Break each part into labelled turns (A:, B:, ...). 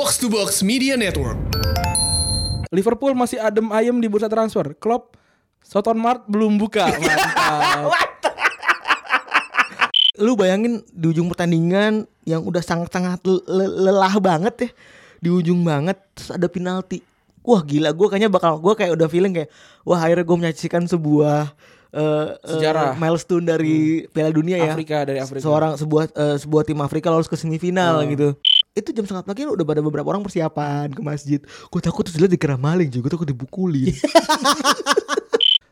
A: Box to Box Media Network.
B: Liverpool masih adem ayem di bursa transfer. Klopp Soton Mart belum buka. Mantap.
C: lu bayangin di ujung pertandingan yang udah sangat-sangat le- le- lelah banget ya di ujung banget terus ada penalti wah gila gue kayaknya bakal gue kayak udah feeling kayak wah akhirnya gue menyaksikan sebuah eh, eh,
B: Sejarah. Hmm.
C: milestone dari Piala Dunia ya
B: Afrika dari Afrika. Hmm.
C: seorang sebuah eh, sebuah tim Afrika lolos ke semifinal gitu itu jam setengah pagi udah pada beberapa orang persiapan ke masjid gue takut terus lihat dikira maling juga gue takut dibukulin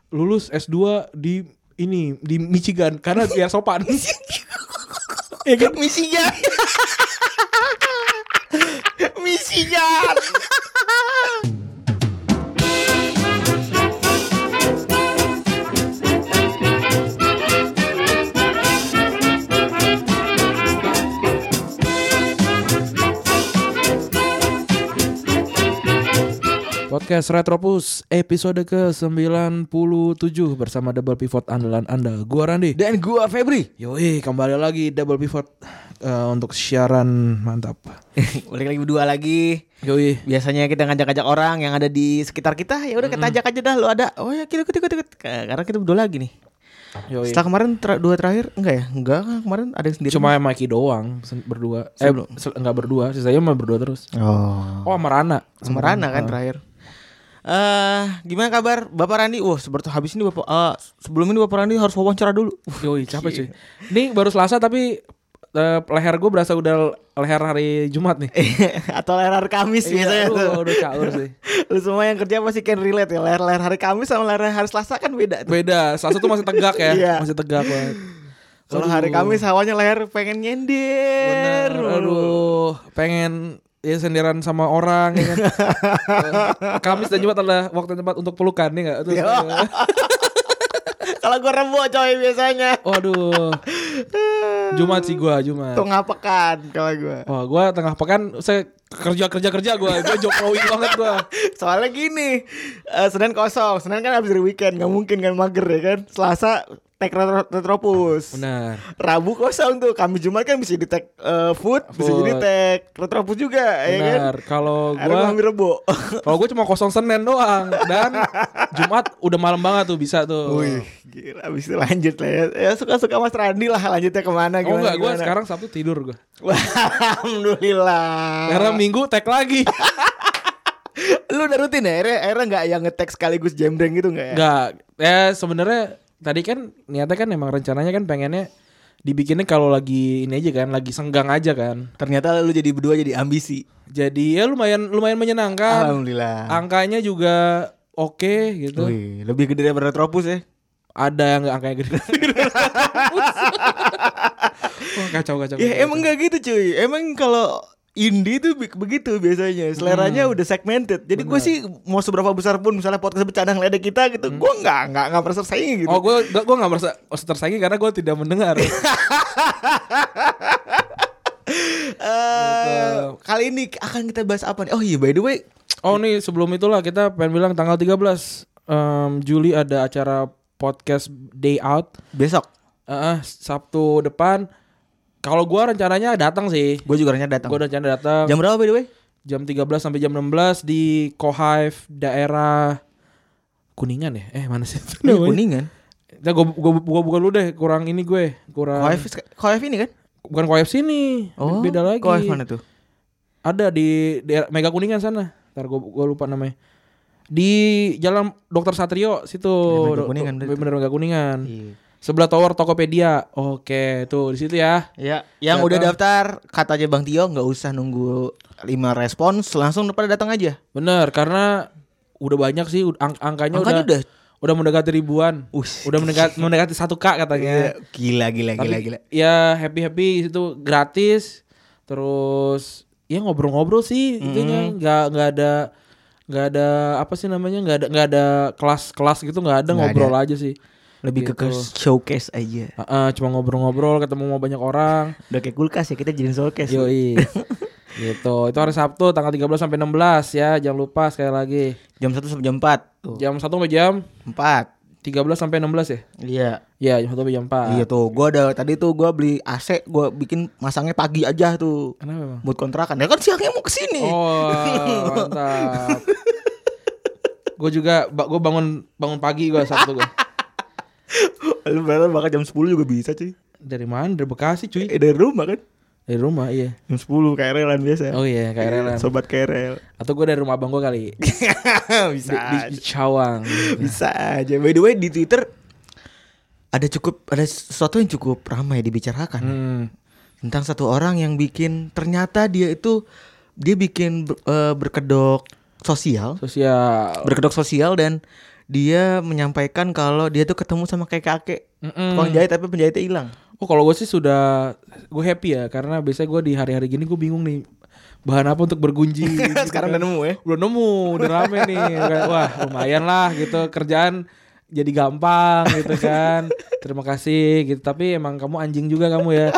B: lulus S2 di ini di Michigan karena biar sopan. ya kan?
C: Michigan Michigan
B: Podcast Retropus episode ke-97 bersama Double Pivot andalan Anda. Gua Randi.
C: dan gua Febri
B: Yoi, kembali lagi Double Pivot eh, untuk siaran mantap.
C: balik lagi berdua lagi
B: Yoi.
C: biasanya kita ngajak-ngajak orang yang ada di sekitar kita ya udah kita ajak aja dah lo ada oh ya kita ikut ikut ikut Ke- karena kita berdua lagi nih
B: Yoi.
C: setelah kemarin ter- dua terakhir enggak ya enggak kemarin ada yang sendiri
B: Cuma Mikey doang sen- berdua. Eh, se- enggak berdua, sisanya mah berdua terus.
C: oh
B: Oh, sama Rana.
C: sama Rana kan terakhir eh gimana kabar Bapak Randi wah seperti habis ini Bapak eh, sebelum ini Bapak Randi harus wawancara dulu Uh,
B: Yoi, capek cuy. Ini baru Selasa tapi eh, leher gue berasa udah leher hari Jumat
C: Eh,
B: nih.
C: atau leher hari Kamis
B: Iya,
C: biasanya
B: aduh,
C: tuh.
B: aduh, caur sih.
C: Lu semua yang kerja pasti can relate ya Leher-leher hari Kamis sama leher hari Selasa kan beda tuh
B: Beda, Selasa tuh masih tegak ya,
C: Iya.
B: masih tegak banget.
C: Kalau hari Kamis hawanya leher pengen nyender
B: Bener, aduh, pengen ya sendiran sama orang ya kan. Eh, Kamis dan Jumat adalah waktu dan tempat untuk pelukan nih enggak? Terus, eh,
C: Yo. Kalau gue rebo coy biasanya
B: eh, waduh. Jumat sih gua, Jumat.
C: Tengah pekan kalau gue
B: Wah, gua tengah pekan saya kerja kerja kerja gua, gua Jokowi banget gua.
C: Soalnya gini eh, Senin kosong Senin kan habis dari weekend Gak mungkin kan mager ya kan Selasa Tek retro- Retropus
B: Benar.
C: Rabu kosong tuh Kamis Jumat kan bisa di tag eh, food, Bisa
B: Food.
C: jadi tag Retropus juga ya kan
B: Benar. Kalau
C: Akhirnya
B: gua
C: ngambil rebo
B: kalau gue cuma kosong Senin doang dan Jumat udah malam banget tuh bisa tuh.
C: Wih gila Abis itu lanjut lah ya Ya suka-suka Mas Randi lah Lanjutnya kemana
B: Oh
C: gimana,
B: enggak, gue
C: gimana.
B: sekarang Sabtu tidur gue.
C: Wah, Alhamdulillah
B: Karena minggu tag lagi.
C: Lu udah rutin ya Akhirnya, akhirnya gak yang ngetek sekaligus jembreng gitu gak ya
B: Enggak. Eh sebenarnya tadi kan niatnya kan emang rencananya kan pengennya dibikinnya kalau lagi ini aja kan, lagi senggang aja kan.
C: Ternyata lu jadi berdua jadi ambisi.
B: Jadi ya lumayan lumayan
C: Kan.
B: menyenangkan.
C: Alhamdulillah.
B: Angkanya juga oke gitu.
C: Wih, lebih gede daripada Retropus ya.
B: Ada yang nggak angkanya gede. Wah kacau kacau.
C: Ya
B: kacau.
C: emang gak gitu cuy. Emang kalau indie tuh bi- begitu biasanya. Seleranya udah segmented. Jadi gue sih mau seberapa besar pun misalnya podcast bercanda ngeledek kita gitu, gue nggak nggak nggak merasa saing gitu.
B: Oh gue gue gue nggak merasa tersaingi karena gue tidak mendengar.
C: Eh, kali ini akan kita bahas apa nih? Oh iya by the way,
B: Oh nih sebelum itulah kita pengen bilang tanggal 13 em, Juli ada acara podcast day out
C: besok
B: Eh, eh, Sabtu depan. Kalau gua rencananya datang sih.
C: gue juga rencana datang.
B: Gua rencana datang
C: Jam berapa by the way?
B: jam 13 sampai jam 16 di Kohive daerah Kuningan ya? Eh mana sih?
C: Ini kan?
B: Kuningan.
C: kuningan.
B: Nah, gua, gua, gua buka dulu deh, kurang ini gue, kurang
C: Koef Koef ini kan?
B: bukan Kohive sini. beda lagi.
C: Koef Oh, mana tuh?
B: Ada di daerah Mega Kuningan sana. Ntar gua, gua lupa namanya. Di Jalan Dokter Satrio situ.
C: Iya,
B: Do-
C: Mega
B: do-
C: Kuningan Iya. berarti.
B: Bener Mega Kuningan. Sebelah tower Tokopedia. Oke, tuh di situ ya.
C: Ya, yang
B: Datang.
C: udah daftar kata aja Bang Tio nggak usah nunggu 5 respons, langsung pada datang aja.
B: Bener, karena udah banyak sih ud- ang- angkanya,
C: Angkanya
B: udah,
C: kan udah.
B: udah mendekati ribuan.
C: Us.
B: Udah mendekati mendekati 1K
C: Iya.
B: katanya.
C: Gila gila
B: Tapi Ya happy-happy itu gratis. Terus ya ngobrol-ngobrol sih intinya nggak nggak ada nggak ada apa sih namanya nggak ada nggak ada kelas-kelas gitu nggak ada ngobrol aja sih
C: Lebih ke
B: Gitu.
C: showcase aja.
B: Ah, ah, cuma ngobrol-ngobrol ketemu sama banyak orang
C: Udah kayak kulkas ya kita jadiin showcase.
B: yoi gitu itu hari Sabtu tanggal 13 sampai 16 ya jangan lupa sekali lagi
C: Jam 1 sampai jam 4. Tuh.
B: jam 1 sampai jam
C: 4.
B: 3 13 sampai 16 ya?
C: Iya.
B: Iya, jam 1 sampai jam 4.
C: Iya tuh, gua ada tadi tuh gua beli AC, gua bikin masangnya pagi aja tuh.
B: Kenapa emang?
C: Buat kontrakan. Ya kan siangnya mau ke sini.
B: Oh, mantap. gue juga gue bangun bangun pagi gue Sabtu gue.
C: Lu berarti bakal jam 10 juga bisa, cuy.
B: Dari mana? Dari Bekasi, cuy.
C: Eh, dari rumah kan?
B: Dari rumah, iya.
C: Jam 10 KRL-an biasa.
B: Oh iya, KRL-an.
C: Sobat KRL.
B: Atau gue dari rumah abang gue kali. Di,
C: bisa.
B: di, di Cawang.
C: Bisa aja. By the way di Twitter ada cukup ada sesuatu yang cukup ramai dibicarakan
B: Hmm.
C: tentang satu orang yang bikin ternyata dia itu dia bikin ber- eh, berkedok sosial,
B: Sosial.
C: berkedok sosial dan dia menyampaikan kalau dia tuh ketemu sama kayak kakek
B: Mm-mm.
C: tukang jahit tapi penjahitnya hilang.
B: Oh kalau gue sih sudah gue happy ya karena biasanya gue di hari-hari gini gue bingung nih bahan apa untuk bergunji. gitu
C: Sekarang
B: kan.
C: udah nemu ya.
B: udah nemu udah rame nih Kayak, wah lumayan lah gitu kerjaan jadi gampang gitu kan terima kasih gitu tapi emang kamu anjing juga kamu ya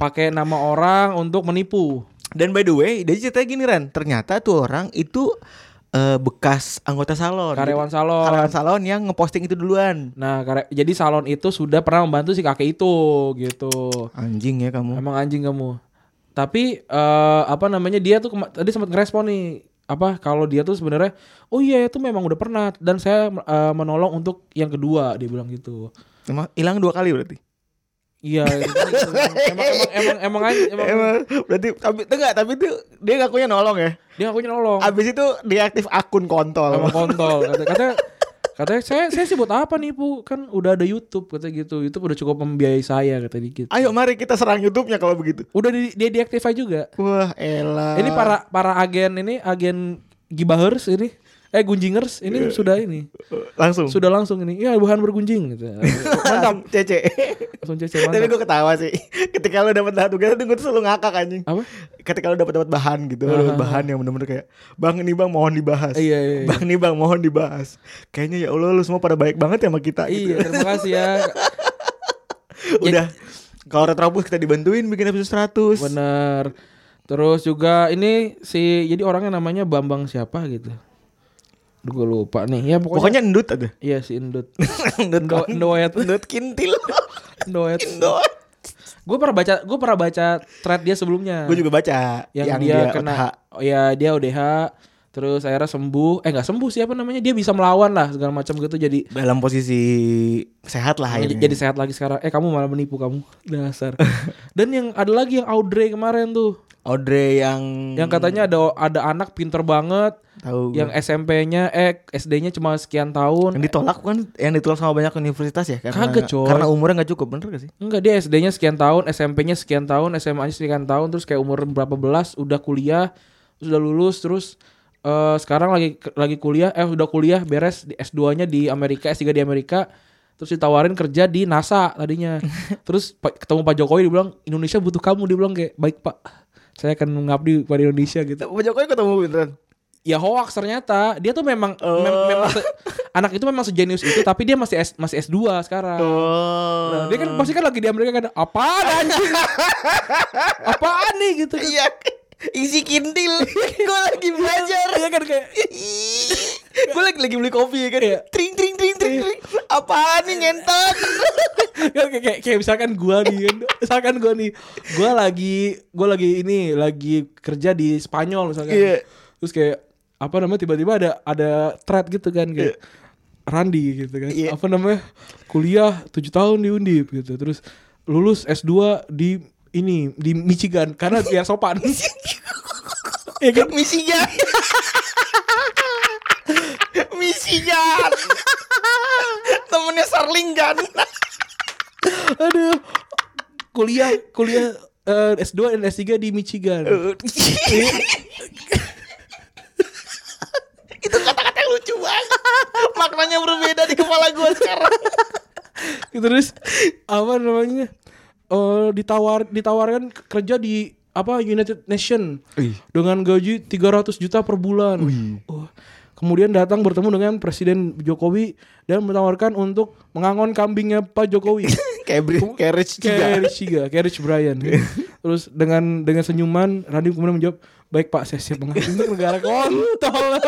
B: pakai nama orang untuk menipu
C: Dan by the way, dia ceritanya gini Ran, ternyata tuh orang itu eh, bekas anggota salon.
B: karyawan salon
C: Oh, Karyawan salon yang ngeposting itu duluan.
B: nah karya- jadi salon itu sudah pernah membantu si kakek itu gitu
C: Anjing ya kamu.
B: emang anjing kamu tapi eh, apa namanya dia tuh kema- tadi sempat ngerespon nih apa kalau dia tuh sebenarnya oh iya itu memang udah pernah dan saya eh, menolong untuk yang kedua dia bilang gitu
C: Emang hilang dua kali berarti.
B: Iya, emang emang emang emang aja- emang,
C: Emang berarti tapi itu enggak, tapi itu dia ngakunya nolong ya.
B: dia ngakunya nolong.
C: Abis itu diaktif akun kontol.
B: Emang kontol. Kata kata katanya saya saya sih buat apa nih Bu? Kan udah ada YouTube katanya gitu. YouTube udah cukup membiayai saya kata dikit.
C: Ayo mari kita serang YouTube-nya kalau begitu.
B: Udah di, dia deactivate juga.
C: Wah, elah.
B: Ini para para agen ini agen gibahers ini eh gunjingers ini sudah ini
C: langsung.
B: sudah langsung ini ya bahan bergunjing gitu.
C: Mantap, Cece.
B: Langsung cece
C: Tapi
B: mantap.
C: gue ketawa sih. Ketika lu dapat satu tugas tuh gue tuh selalu ngakak anjing.
B: Apa?
C: Ketika lu dapat dapat bahan gitu, lu dapet bahan yang bener-bener kayak, "Bang, ini Bang mohon dibahas."
B: Iya, iya, iya.
C: Bang, ini Bang mohon dibahas. Kayaknya ya Allah lu semua pada baik banget ya sama kita gitu.
B: Iya, terima kasih ya.
C: Udah. Kalau Retrobus kita dibantuin bikin episode 100.
B: Bener. Terus juga ini si jadi orangnya namanya Bambang siapa gitu. Aduh, gue lupa nih. Ya pokoknya,
C: Pokoknya endut ada.
B: iya si Endut.
C: endut
B: Endo- Endoet,
C: Endut kintil.
B: Endoet.
C: Endut.
B: Gue pernah baca gue pernah baca thread dia sebelumnya.
C: Gue juga baca
B: Nah. yang, dia, kena
C: OTH.
B: oh ya dia ODH terus akhirnya sembuh. Eh nggak sembuh siapa namanya? Dia bisa melawan lah segala macam gitu jadi
C: dalam posisi sehat lah
B: jadi,
C: akhirnya.
B: jadi sehat lagi sekarang. Eh kamu malah menipu kamu. Dasar. Dan yang ada lagi yang Audrey kemarin tuh.
C: Audrey yang
B: Yang
C: Hmm.
B: katanya ada ada anak pinter banget
C: tahu
B: yang SMP-nya eh SD-nya cuma sekian tahun.
C: Iya. yang ditolak kan yang ditolak sama banyak universitas ya karena
B: Kagak, coy.
C: karena umurnya nggak cukup bener gak sih?
B: Enggak dia SD-nya sekian tahun, SMP-nya sekian tahun, SMA-nya sekian tahun, terus kayak umur berapa belas udah kuliah, sudah lulus, terus eh sekarang lagi lagi kuliah, eh udah kuliah beres di S2-nya di Amerika, S3 di Amerika, terus ditawarin kerja di NASA tadinya. Terus pa- ketemu Pak Jokowi dibilang Indonesia butuh kamu, dia bilang kayak baik Pak, saya akan mengabdi pada Indonesia gitu.
C: Pak Jokowi ketemu beneran.
B: Ya hoax ternyata dia tuh memang mem- memang se- anak itu memang sejenius itu, tapi dia masih S- masih S2 sekarang. Nah,
C: Oh.
B: dia kan pasti kan lagi di Amerika kan apaan anjing? apaan nih gitu kan.
C: Iya. Isi kintil. gue lagi belajar.
B: Iya kan kayak
C: gue lagi lagi beli kopi ya kan.
B: Iya.
C: Tring tring tring tring tring. Apaan nih ngentot?
B: kan kayak, kayak, kayak misalkan gua nih kan. misalkan gua nih gua lagi gua lagi ini lagi kerja di Spanyol misalkan.
C: Iya.
B: Terus kayak apa namanya tiba-tiba ada ada thread gitu kan kayak Randi gitu kan.
C: Iya.
B: Apa namanya? Kuliah 7 tahun di Undip gitu. Terus lulus S2 di ini di Michigan karena dia sopan. Iya kan?
C: Michigan. Michigan. Temennya kan. Sarlinggan.
B: Aduh. Kuliah kuliah eh, S2 dan S3 di
C: Iya.
B: Michigan.
C: Itu kata-kata yang lucu banget. Maknanya berbeda di kepala gue sekarang.
B: Gitu, Terus apa namanya? Eh ditawar ditawarkan k- kerja di apa United Nation
C: Ih.
B: dengan gaji 300 juta per bulan. Oh. Kemudian datang bertemu dengan Presiden Jokowi dan menawarkan untuk mengangon kambingnya Pak Jokowi.
C: Kayak bri- kayak Rich juga.
B: Kerich Chiga, Kerich Brian. Terus dengan dengan senyuman Randy kemudian menjawab, "Baik Pak, saya siap mengabdi untuk negara kontol."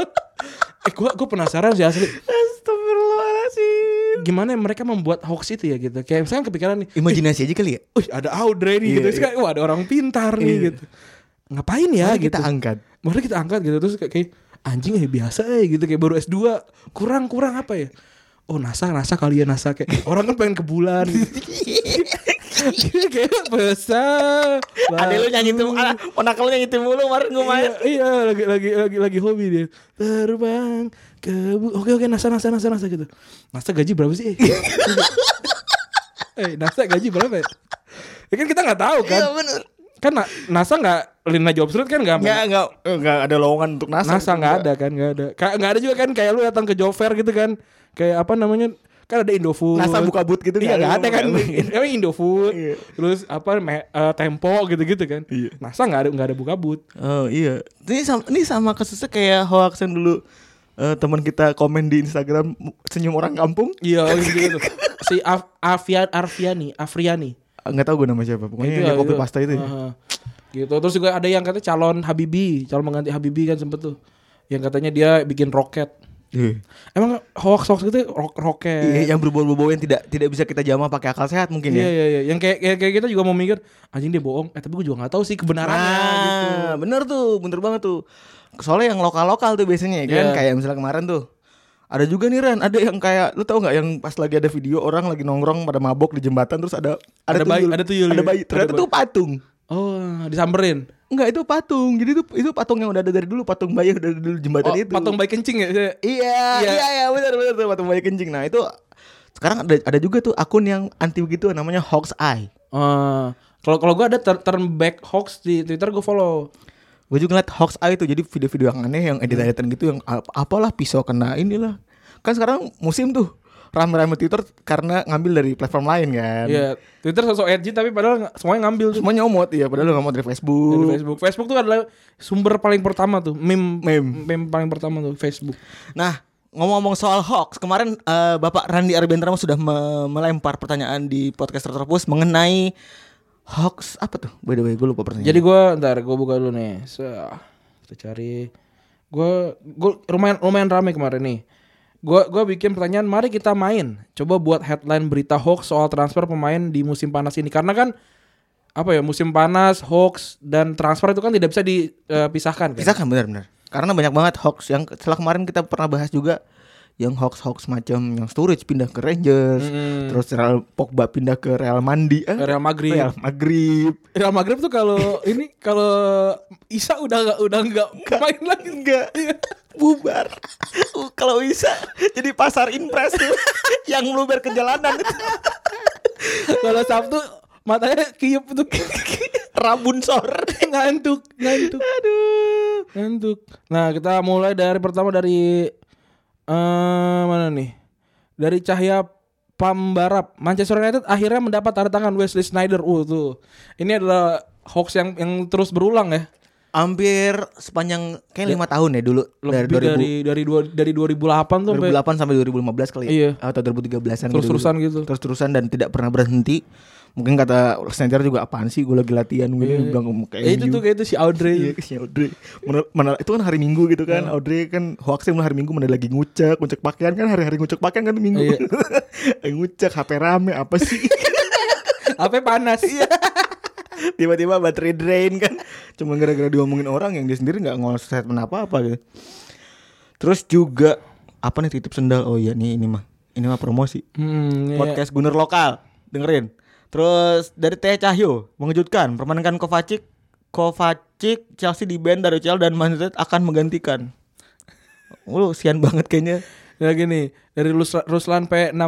B: eh gua gua penasaran sih asli.
C: Astagfirullahaladzim. sih.
B: gimana mereka membuat hoax itu ya gitu. Kayak misalkan kepikiran nih,
C: Imajinasi aja kali ya.
B: "Wih, ada Audrey nih
C: Iya,
B: gitu." Terus kayak, "Wah, ada orang pintar nih."
C: Iya.
B: gitu. Ngapain ya
C: Mari
B: gitu.
C: kita angkat.
B: Mari kita angkat gitu terus kayak, kayak, anjing ya biasa ya gitu kayak baru S2 kurang-kurang apa ya? Oh, NASA, NASA kali ya NASA kayak orang kan pengen ke bulan. Iya, kayak besar.
C: Ada lu nyanyi tuh, anak ponak lu nyanyi tuh mulu kemarin gue main.
B: Iya, iya, lagi lagi lagi lagi hobi dia. Terbang ke bu- Oke oke NASA NASA NASA NASA gitu. NASA gaji berapa sih? eh? eh NASA gaji berapa? Ya, ya kan kita nggak tahu kan.
C: Iya bener.
B: Kan Na- NASA nggak Lina Job Street kan nggak
C: Enggak, enggak, enggak ada lowongan untuk NASA.
B: NASA nggak ada kan nggak ada. Kayak nggak ada juga kan kayak lu datang ke Job Fair gitu kan. Kayak apa namanya? Kan ada Indofood.
C: NASA buka boot gitu
B: Iya nggak ada kan Emang Indofood
C: Iya.
B: Terus apa me- eh, Tempo gitu-gitu kan
C: Iya.
B: NASA nggak ada nggak ada buka but
C: Oh iya. Ini sama, ini sama kasusnya kayak hoax yang dulu eh, teman kita komen di Instagram senyum orang kampung.
B: Iya gitu, gitu. Si Af Afian Arfiani, Afriani. Gitu
C: Enggak tahu gue nama siapa. Pokoknya yang Iya, dia
B: lah,
C: kopi pasta itu. ya.
B: Heeh. Gitu. Terus juga ada yang katanya calon Habibi, calon mengganti Habibi kan sempet tuh. Yang katanya dia bikin roket.
C: Iya.
B: Emang hoax hoax gitu ro- roket.
C: Iya, yang berbau-bau yang tidak tidak bisa kita jamah pakai akal sehat mungkin
B: Iya
C: ya.
B: iya iya. Yang kayak kayak, kayak kita juga mau mikir anjing dia bohong. Eh tapi gue juga nggak tahu sih kebenarannya gitu.
C: Nah, bener tuh, bener banget tuh. Soalnya yang lokal-lokal tuh biasanya ya kan,
B: Iya.
C: kayak misalnya kemarin tuh. Ada juga nih Ran, ada yang kayak lu tau nggak yang pas lagi ada video orang lagi nongkrong pada mabok di jembatan terus ada
B: Ada bayi- ada tuyul
C: ada
B: ya?
C: bayi.
B: Ada
C: Ternyata
B: bayi.
C: tuh patung.
B: Oh, disamperin.
C: Enggak, itu patung. Jadi itu itu patung yang udah ada dari dulu, patung bayi yang udah ada dulu jembatan
B: Oh,
C: itu.
B: patung bayi kencing ya.
C: Iya,
B: Iya.
C: iya, iya, benar benar tuh patung bayi kencing. Nah, itu sekarang ada ada juga tuh akun yang anti begitu namanya Hawks Eye.
B: Eh, kalau kalau gue ada ter- turn back hoax di Twitter gue follow.
C: Gue juga ngeliat hoax eye tuh Jadi video-video yang aneh Yang edit-editan
B: Hmm.
C: gitu Yang ap- apalah pisau kena inilah Kan sekarang musim tuh Rame-rame Twitter Karena ngambil dari platform lain kan
B: Iya, Twitter sosok edgy tapi padahal nggak- semuanya ngambil tuh.
C: Semua nyomot ya Padahal lu nggak mau dari Facebook,
B: Dari Facebook. Facebook tuh adalah sumber paling pertama tuh, meme
C: Meme.
B: meme paling pertama tuh Facebook.
C: Nah Ngomong-ngomong soal hoax Kemarin eh, Bapak Randi Arbendrama Sudah me- melempar pertanyaan Di podcast Retropus Mengenai Hoax Apa tuh By the way gue lupa pertanyaan
B: Jadi gua ntar gua buka dulu nih. So, kita cari gua gua lumayan lumayan rame kemarin nih. Gua gua bikin pertanyaan, mari kita main. Coba buat headline berita hoax soal transfer pemain di musim panas ini karena kan apa ya musim panas, hoax dan transfer itu kan tidak bisa dipisahkan kan.
C: Pisahkan benar-benar Karena banyak banget hoax Yang setelah kemarin kita pernah bahas juga yang hoax-hoax macam yang storage pindah ke Rangers,
B: Mm-mm.
C: terus Real Pogba pindah ke Real Mandi, eh,
B: Real Madrid.
C: Real Maghrib.
B: Real Maghrib tuh kalau ini kalau Isa udah nggak udah nggak main lagi
C: Enggak. Bubar. Uh, Kalau bisa jadi pasar impres tuh yang meluber ke jalanan itu.
B: kalau Sabtu matanya kiyup tuh
C: Rabun sor.
B: ngantuk ngantuk aduh ngantuk nah kita mulai dari pertama dari eh mana nih dari Cahya Pambarap Manchester United akhirnya mendapat tanda tangan Wesley Snyder uh tuh ini adalah hoax yang yang terus berulang ya
C: Hampir sepanjang kayak lima tahun ya dulu
B: lebih dari dari dua, dari 2008 tuh sampai
C: 2008 sampai 2015 kali ya
B: Iya.
C: atau 2013-an gitu.
B: Terus-terusan gitu.
C: Terus-terusan dan tidak pernah berhenti. Mungkin kata Snyder juga apaan sih gue lagi latihan gue bilang kayak
B: Eh, itu tuh kayak itu si
C: Iya
B: Audrey
C: ke si Audrey Mener- mener- Itu kan hari Minggu gitu
B: Iya.
C: kan Audrey kan hoaxnya mulai hari Minggu Mana lagi ngucek Ngucek pakaian kan Hari-hari ngucek pakaian kan Minggu Eh,
B: Iya.
C: Ngucek HP rame Apa sih
B: apa panas
C: Tiba-tiba baterai drain kan Cuma gara-gara diomongin orang Yang dia sendiri gak ngomong statement apa-apa gitu Terus juga Apa nih titip sendal Oh iya nih ini mah Ini mah promosi
B: Hmm, iya.
C: Podcast Gunur Lokal Dengerin Terus dari Teh Cahyo Mengejutkan Permanenkan Kovacic Kovacic Chelsea di band dari Chelsea Dan Man United akan menggantikan Lu sian banget kayaknya
B: Ya gini, dari Lus- Ruslan P16.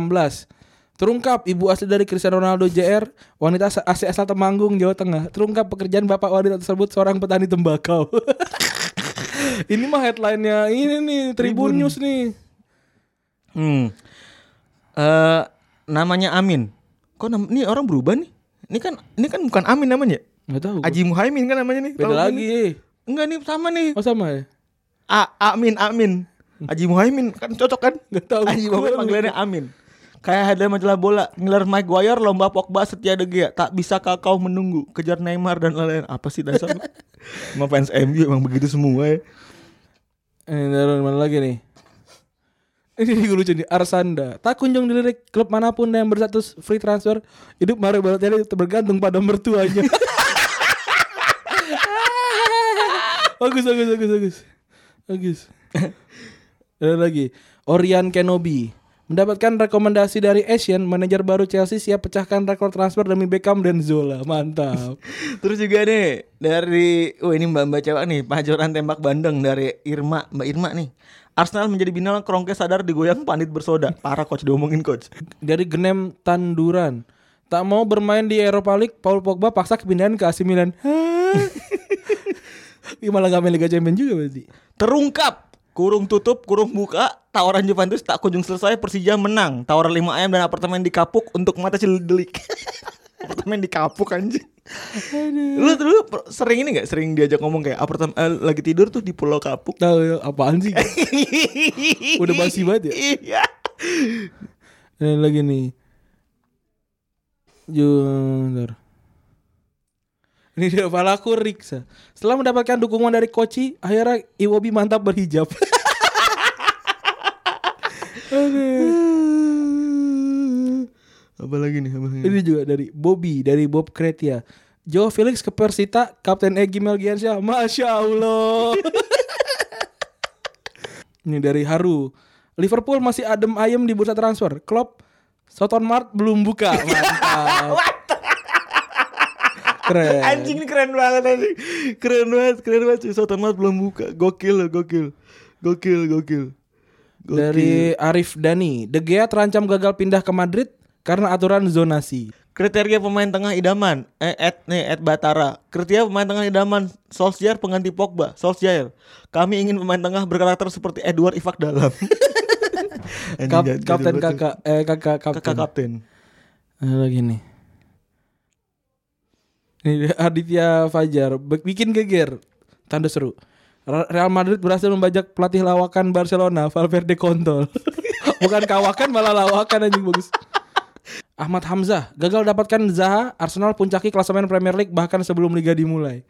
B: Terungkap ibu asli dari Cristiano Ronaldo JR, wanita as- asli asal Temanggung, Jawa Tengah. Terungkap pekerjaan bapak wanita tersebut seorang petani tembakau. ini mah headline-nya ini nih Tribun, News nih.
C: Hmm Eh, Namanya Amin Kok nam- ini orang berubah nih Ini kan ini kan bukan Amin namanya
B: Enggak tahu. gua.
C: Aji Muhaimin kan namanya nih
B: Beda
C: Tahu
B: lagi.
C: ini? Enggak nih sama nih
B: Oh sama ya?
C: A Amin Amin Aji Muhaimin kan cocok kan
B: Nggak tahu.
C: Aji Muhaimin panggilannya Amin Kayak headline majalah bola Ngiler Mike Guire Lomba Pogba Setia De Gea Tak bisa kakau menunggu Kejar Neymar dan lain-lain Apa sih dasar lu? Emang fans MU emang begitu semua ya
B: Eh, dari mana lagi nih? Ini juga lucu nih Arsanda Tak kunjung dilirik klub manapun yang berstatus free transfer Hidup Mario Balotelli bergantung pada mertuanya Bagus bagus bagus bagus Bagus Ada lagi Orion Kenobi Mendapatkan rekomendasi dari Asian, manajer baru Chelsea siap pecahkan rekor transfer demi Beckham dan Zola. Mantap.
C: Terus juga nih dari oh ini Mbak-mbak cewek nih, pajoran tembak bandeng dari Irma, Mbak Irma nih. Arsenal menjadi binal kerongke sadar digoyang pandit bersoda. Parah coach diomongin coach.
B: dari Genem Tanduran. Tak mau bermain di Eropa League, Paul Pogba paksa kepindahan ke AC Milan. Hah? Ih, malah gak main Liga Champions juga berarti.
C: Terungkap Kurung tutup, kurung buka, tawaran Juventus tak kunjung selesai, Persija menang. Tawaran 5 ayam dan apartemen dikapuk untuk mata delik. apartemen dikapuk anjing. Lu dulu per- sering ini gak? Sering diajak ngomong kayak apartemen eh, lagi tidur tuh di pulau kapuk.
B: Tahu ya, apaan sih? Udah basi banget ya?
C: Iya.
B: Ini lagi nih. Junior. Ini dia Palaku Riksa. Setelah mendapatkan dukungan dari Koci, akhirnya Iwobi mantap berhijab.
C: Apa lagi nih? Apa lagi?
B: Ini juga dari Bobby, dari Bob Kretia. Joe Felix ke Persita, Kapten Egy Melgiansyah. Masya Allah. Ini dari Haru. Liverpool masih adem ayem di bursa transfer. Klopp, Soton Mart belum buka. Mantap. Keren.
C: Ah, Anjing ini keren banget anjing. Keren banget, keren banget. Cuy. Soton Mart belum buka. Gokil loh, gokil. Gokil, gokil. Gokil.
B: Dari Arif Dani. De Gea terancam gagal pindah ke Madrid karena aturan zonasi.
C: kriteria pemain tengah idaman eh, at nih at Batara. Kriteria pemain tengah idaman Solskjaer pengganti Pogba. Solskjaer. Kami ingin pemain tengah berkarakter seperti Edward Ifak dalam. Anjing,
B: Kap-
C: jadi- jadi
B: kapten
C: banget,
B: kakak eh kakak
C: cuy. kakak
B: kapten.
C: kapten.
B: Ada lagi nih. Ini dia, Aditya Fajar Be- bikin geger. Tanda seru. Ra- Real Madrid berhasil membajak pelatih lawakan Barcelona, Valverde kontol. Bukan kawakan malah lawakan anjing bagus. Ahmad Hamzah gagal dapatkan Zaha, Arsenal puncaki klasemen Premier League bahkan sebelum liga dimulai.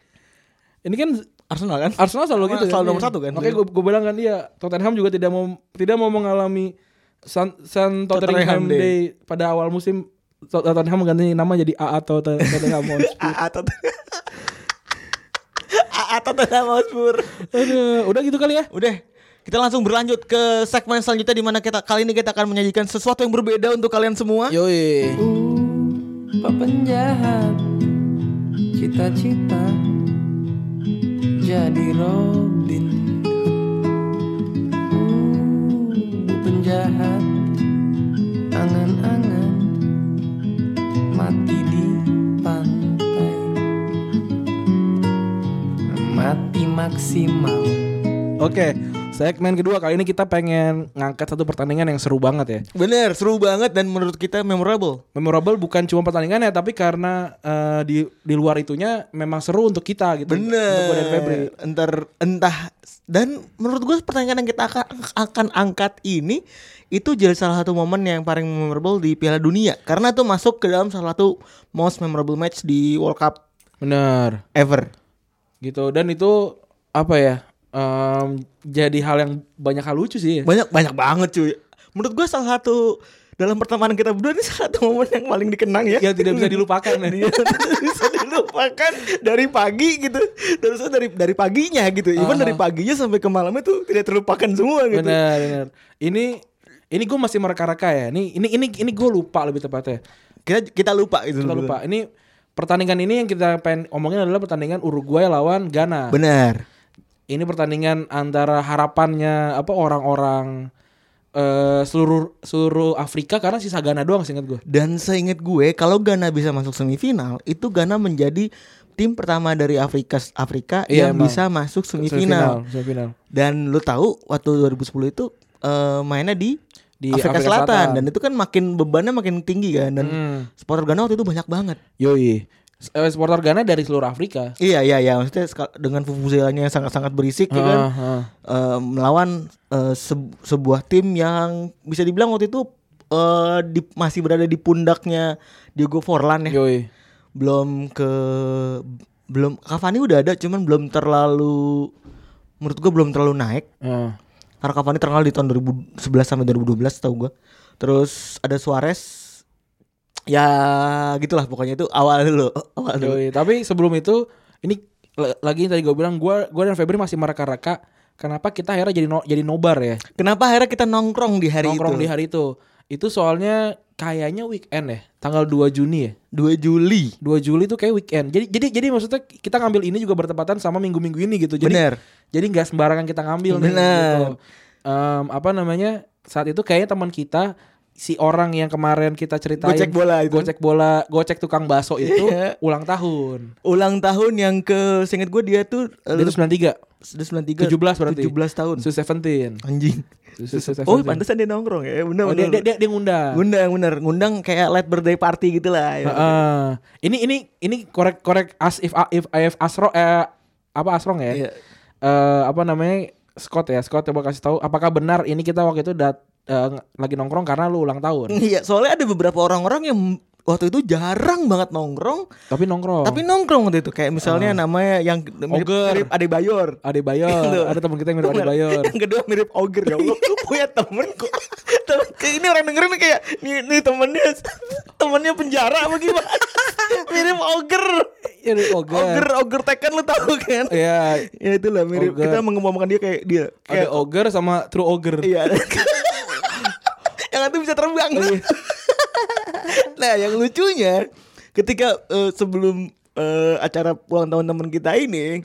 B: Ini kan
C: Arsenal kan?
B: Arsenal selalu
C: Sama-
B: gitu kan?
C: selalu
B: Iya.
C: nomor satu kan?
B: Makanya gue gue bilang kan dia Tottenham juga tidak mau tidak mau mengalami San, San Tottenham
C: Tottenham
B: Day.
C: Day.
B: pada awal musim Tot- Tottenham mengganti nama jadi AA Tot- Tottenham Hotspur.
C: AA Ah, Tot. AA Tottenham Hotspur.
B: Aduh, udah gitu kali ya.
C: Ah, Udah, kita langsung berlanjut ke segmen selanjutnya di mana kita kali ini kita akan menyajikan sesuatu yang berbeda untuk kalian semua.
B: Yoi.
A: pepenjahat cita-cita jadi Robin Hood. Uh, penjahat angan-angan mati di pantai mati maksimal
B: Oke, segmen kedua kali ini kita pengen ngangkat satu pertandingan yang seru banget ya.
C: Bener, seru banget dan menurut kita memorable.
B: Memorable bukan cuma pertandingannya tapi karena eh, di di luar itunya memang seru untuk kita gitu. Untuk gue dan Febri.
C: Bener. Entar entah dan menurut gue pertanyaan yang kita akan, akan angkat ini itu jadi salah satu momen yang paling memorable di Piala Dunia karena itu masuk ke dalam salah satu most memorable match di World Cup
B: Bener.
C: ever.
B: gitu dan itu apa ya em, jadi hal yang banyak hal lucu sih ya.
C: Banyak banyak banget cuy. Menurut gue salah satu dalam pertemanan kita berdua ini salah satu momen yang paling dikenang ya.
B: yang tidak bisa dilupakan ya.
C: Iya, gitu. bisa dilupakan dari pagi gitu terus dari dari paginya gitu even
B: Aha.
C: dari paginya sampai ke malamnya tuh tidak terlupakan semua gitu
B: benar benar ini ini gue masih mereka-reka ya ini ini ini ini gue lupa lebih tepatnya
C: kita kita lupa gitu. itu
B: kita lupa ini pertandingan ini yang kita pengen omongin adalah pertandingan Uruguay lawan Ghana
C: benar
B: ini pertandingan antara harapannya apa orang-orang eh, seluruh seluruh Afrika karena sisa Ghana doang seingat gue
C: dan seingat gue kalau Ghana bisa masuk semifinal itu Ghana menjadi tim pertama dari Afrika Afrika
B: Iya,
C: yang
B: emang.
C: bisa masuk semifinal.
B: semifinal
C: dan lu tahu waktu 2010 itu eh, mainnya di
B: Di
C: Afrika,
B: Afrika
C: Selatan.
B: Selatan.
C: dan itu kan makin bebannya makin tinggi kan dan
B: Hmm.
C: supporter Ghana waktu itu banyak banget
B: yoi Eh, supporter Ghana dari seluruh Afrika
C: Iya iya iya maksudnya seka- dengan fufuzelanya yang sangat-sangat berisik ya kan
B: Ah, ah.
C: eh, melawan eh, se- sebuah tim yang bisa dibilang waktu itu eh, di- masih berada di pundaknya Diego Forlan ya.
B: Yoi.
C: Belum ke belum Cavani udah ada cuman belum terlalu menurut gua belum terlalu naik.
B: Ah.
C: Karena Cavani terkenal di tahun 2011 sampai 2012 tahu gua. Terus ada Suarez. Ya gitulah pokoknya itu awal dulu, awal dulu.
B: Yoi, tapi sebelum itu ini l- lagi yang tadi gue bilang gue gue dan Febri masih mereka-reka kenapa kita akhirnya jadi no- jadi nobar ya
C: Kenapa akhirnya kita nongkrong di hari
B: nongkrong di
C: itu?
B: hari itu. Itu soalnya kayaknya weekend ya, tanggal 2 Juni ya.
C: 2 Juli.
B: 2 Juli itu kayak weekend. Jadi jadi jadi maksudnya kita ngambil ini juga bertepatan sama minggu-minggu ini gitu. Jadi
C: Bener.
B: jadi nggak sembarangan kita ngambil nih.
C: Bener.
B: gitu. Em, apa namanya? Saat itu kayaknya teman kita si orang yang kemarin kita ceritain
C: Gocek bola itu.
B: gocek bola, gocek tukang bakso itu
C: Iya.
B: ulang tahun.
C: Ulang tahun yang ke seingat gue dia tuh
B: Dia itu 93,
C: 93
B: 17 berarti.
C: 17 tahun.
B: Su 17.
C: Anjing.
B: Su- su-
C: Oh,
B: 17.
C: pantesan dia nongkrong ya. Bener
B: Oh, dia,
C: bener.
B: dia, dia, dia ngundang.
C: Ngundang bener, ngundang kayak late birthday party gitu lah. ya.
B: Heeh. ah. ini ini ini korek korek as if if if asro eh, apa asrong ya?
C: Iya.
B: Eh, apa namanya Scott ya Scott coba kasih tahu apakah benar ini kita waktu itu dat eh, ng- lagi nongkrong karena lu ulang tahun
C: Iya, soalnya ada beberapa orang-orang yang waktu itu jarang banget nongkrong,
B: tapi nongkrong
C: tapi nongkrong waktu itu kayak misalnya namanya yang mirip,
B: Oger.
C: mirip Ade Bayor.
B: ada Bayor ada teman kita yang mirip Ade Bayor
C: Yang kedua mirip Oger ya Allah. Gue punya temen kok. Temen, kayak ini orang dengerin kayak nih, nih temennya temennya penjara apa gimana? mirip Oger.
B: Iya, mirip Oger.
C: Oger, Oger Tekken lu tahu kan?
B: ya
C: Ya itulah mirip
B: Oger.
C: kita mengumumkan dia kayak dia
B: ada
C: kayak
B: Ogre sama True Ogre
C: Iya. yang nanti bisa terbang.
B: Iya.
C: nah, yang lucunya ketika eh, sebelum eh, acara ulang tahun teman kita ini,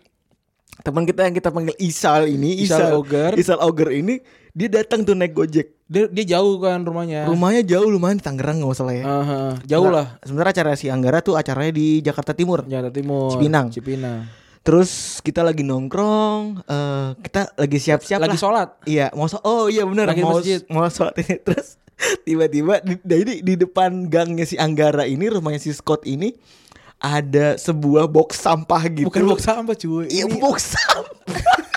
C: teman kita yang kita panggil Isal ini,
B: Isal Oger.
C: Isal Oger ini dia datang tuh naik Gojek.
B: dia, dia jauh kan rumahnya
C: Rumahnya jauh lumayan di Tangerang nggak salah ya.
B: Aha, Ah, jauh lah Ya.
C: Sementara acara si Anggara tuh acaranya di Jakarta Timur.
B: Jakarta Timur
C: Cipinang.
B: Cipinang
C: Terus kita lagi nongkrong, eh, kita lagi siap-siap
B: lagi
C: lah.
B: sholat
C: Iya, mau so- oh iya benar
B: Lagi di
C: mau
B: masjid.
C: mau sholat ini terus tiba-tiba di, jadi di depan gangnya si Anggara ini rumahnya si Scott ini ada sebuah box sampah gitu.
B: bukan box sampah cuy
C: Iya,
B: Ini-
C: box sampah.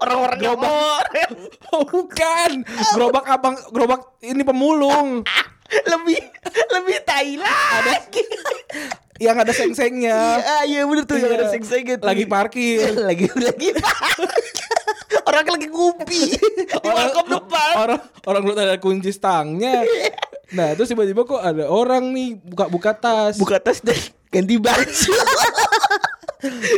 C: Orang-orang nyobor.
B: Oh, bukan gerobak abang gerobak ini pemulung
C: lebih lebih tai lagi.
B: yang ada seng-sengnya
C: Ah, iya bener tuh yang
B: Iya.
C: ada sing-sing gitu.
B: lagi parkir
C: lagi lagi orang lagi ngupi di warkop depan. Iya.
B: orang orang lu ada kunci stangnya nah terus tiba-tiba kok ada orang nih buka-buka tas
C: Buka tas dan ganti baju.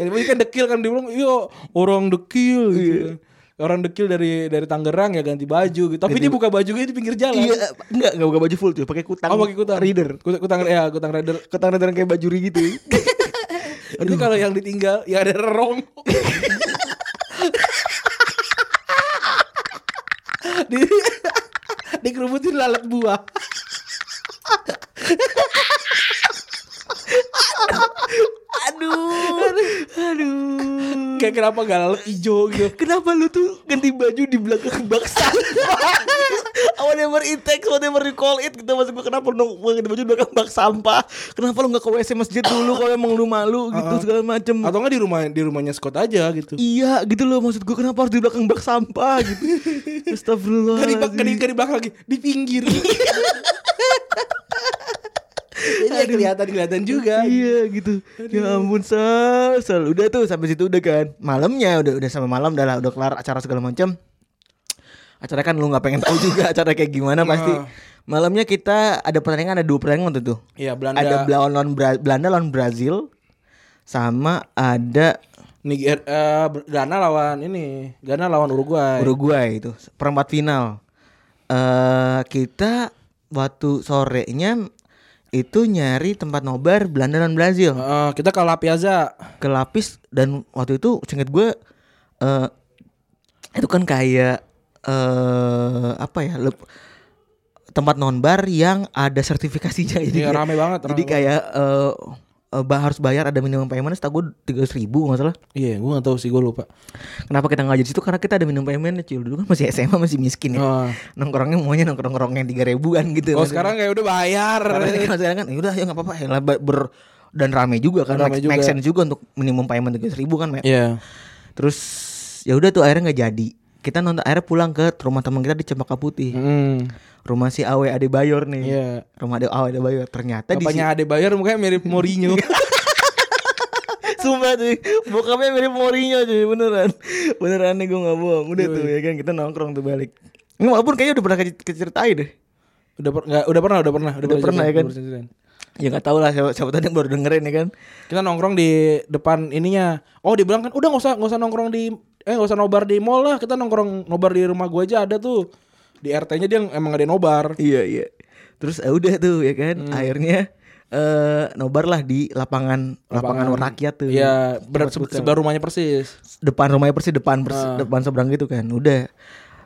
B: tiba kan dekil kan dia bilang iya orang dekil gitu.
C: Iya.
B: orang dekil dari dari Tangerang ya ganti baju gitu tapi dia buka bajunya di pinggir jalan
C: Iya, enggak enggak buka baju full tuh, pakai kutang.
B: oh pakai kutang
C: Reader.
B: kutang, kutang ya kutang rider
C: Kutang reader yang kayak baju ri gitu.
B: Ini kalau yang ditinggal ya ada rong. di dikerubutin lalat buah.
C: aduh. Aduh.
B: Kayak kenapa gak lalat hijau gitu.
C: Kenapa lu tuh ganti baju di belakang bangsa? whatever it takes, whatever you call it gitu maksud gua kenapa lu nggak ganti baju di belakang bak sampah? Kenapa lu nggak ke WC masjid dulu kalau emang lu malu gitu segala macem
B: Atau enggak di rumah di rumahnya Scott aja gitu.
C: Iya gitu loh maksud gua kenapa harus di belakang bak sampah gitu
B: Gak di, gak di,
C: Astagfirullahaladzim
B: gak di belakang lagi, di pinggir. Jadi ya kelihatan kelihatan juga.
C: Iya gitu. Ya ampun sal, sal. Udah tuh sampai situ udah kan. Malamnya udah udah sampai malam udah lah udah kelar acara segala macam. Acara kan lu nggak pengen tahu juga acara kayak gimana pasti.
B: Nah.
C: Malamnya kita ada pertandingan ada dua pertandingan waktu itu.
B: Iya Belanda.
C: Ada Bla- lawan Bra- Belanda lawan Brazil sama ada
B: Niger, eh, Ghana lawan ini, Ghana lawan Uruguay.
C: Uruguay itu perempat final. Eh kita waktu sorenya itu nyari tempat nobar Belanda dan Brazil.
B: Eh, kita kalah Piazza.
C: ke lapis dan waktu itu singkat gue eh itu kan kayak eh apa ya lep- tempat nonbar yang ada sertifikasinya jadi
B: Iya
C: kayak-
B: rame banget. rame
C: jadi kayak eh eh, ba- harus bayar ada minimum payment setahu gue tiga ribu nggak salah
B: Iya, gue gak tahu sih, gue lupa.
C: kenapa kita nggak jadi situ karena kita ada minimum payment cuy dulu kan masih SMA masih miskin ya
B: Oh,
C: nongkrongnya maunya nongkrong nongkrongnya tiga ribuan gitu
B: Oh,
C: Maksudnya.
B: sekarang kayak udah bayar.
C: Karena kan kalau sekarang kan ya udah ya nggak apa-apa ya lah, ber ber- dan rame juga kan
B: Rame
C: make, make
B: juga.
C: sense juga untuk minimum payment tiga ribu kan Matt?
B: Iya.
C: Terus ya udah tuh akhirnya nggak jadi. Kita nonton akhirnya pulang ke rumah teman kita di Cempaka Putih.
B: Hmm.
C: Rumah si Awe Ade Bayor nih.
B: Iya.
C: Rumah Ade Awe Ade Bayor. Ternyata di
B: Bapaknya Ade Bayer mukanya mirip Mourinho.
C: situ Sumpah cuy Bokapnya mirip Mourinho cuy Beneran Beneran nih gue gak bohong Udah tuh ya kan Kita nongkrong tuh balik Nggak, walaupun kayaknya udah pernah ke- keceritain deh
B: Udah per- nggak, udah pernah, udah pernah,
C: Udah pernah, ya kan?
B: udah ceritain.
C: Ya gak tau lah siapa, siapa tadi yang baru dengerin ya kan
B: Kita nongkrong di depan ininya. Oh, dibilang kan udah nggak usah nggak usah nongkrong di eh nggak usah nobar di mall lah. Kita nongkrong nobar di rumah gua aja ada tuh. Di RT-nya dia emang ada nobar.
C: Iya iya Terus eh, udah tuh ya kan Akhirnya eh nobar lah di lapangan lapangan, rakyat tuh
B: Iya, berat se- sebelah rumahnya persis.
C: depan rumahnya persis depan persi- depan seberang gitu kan udah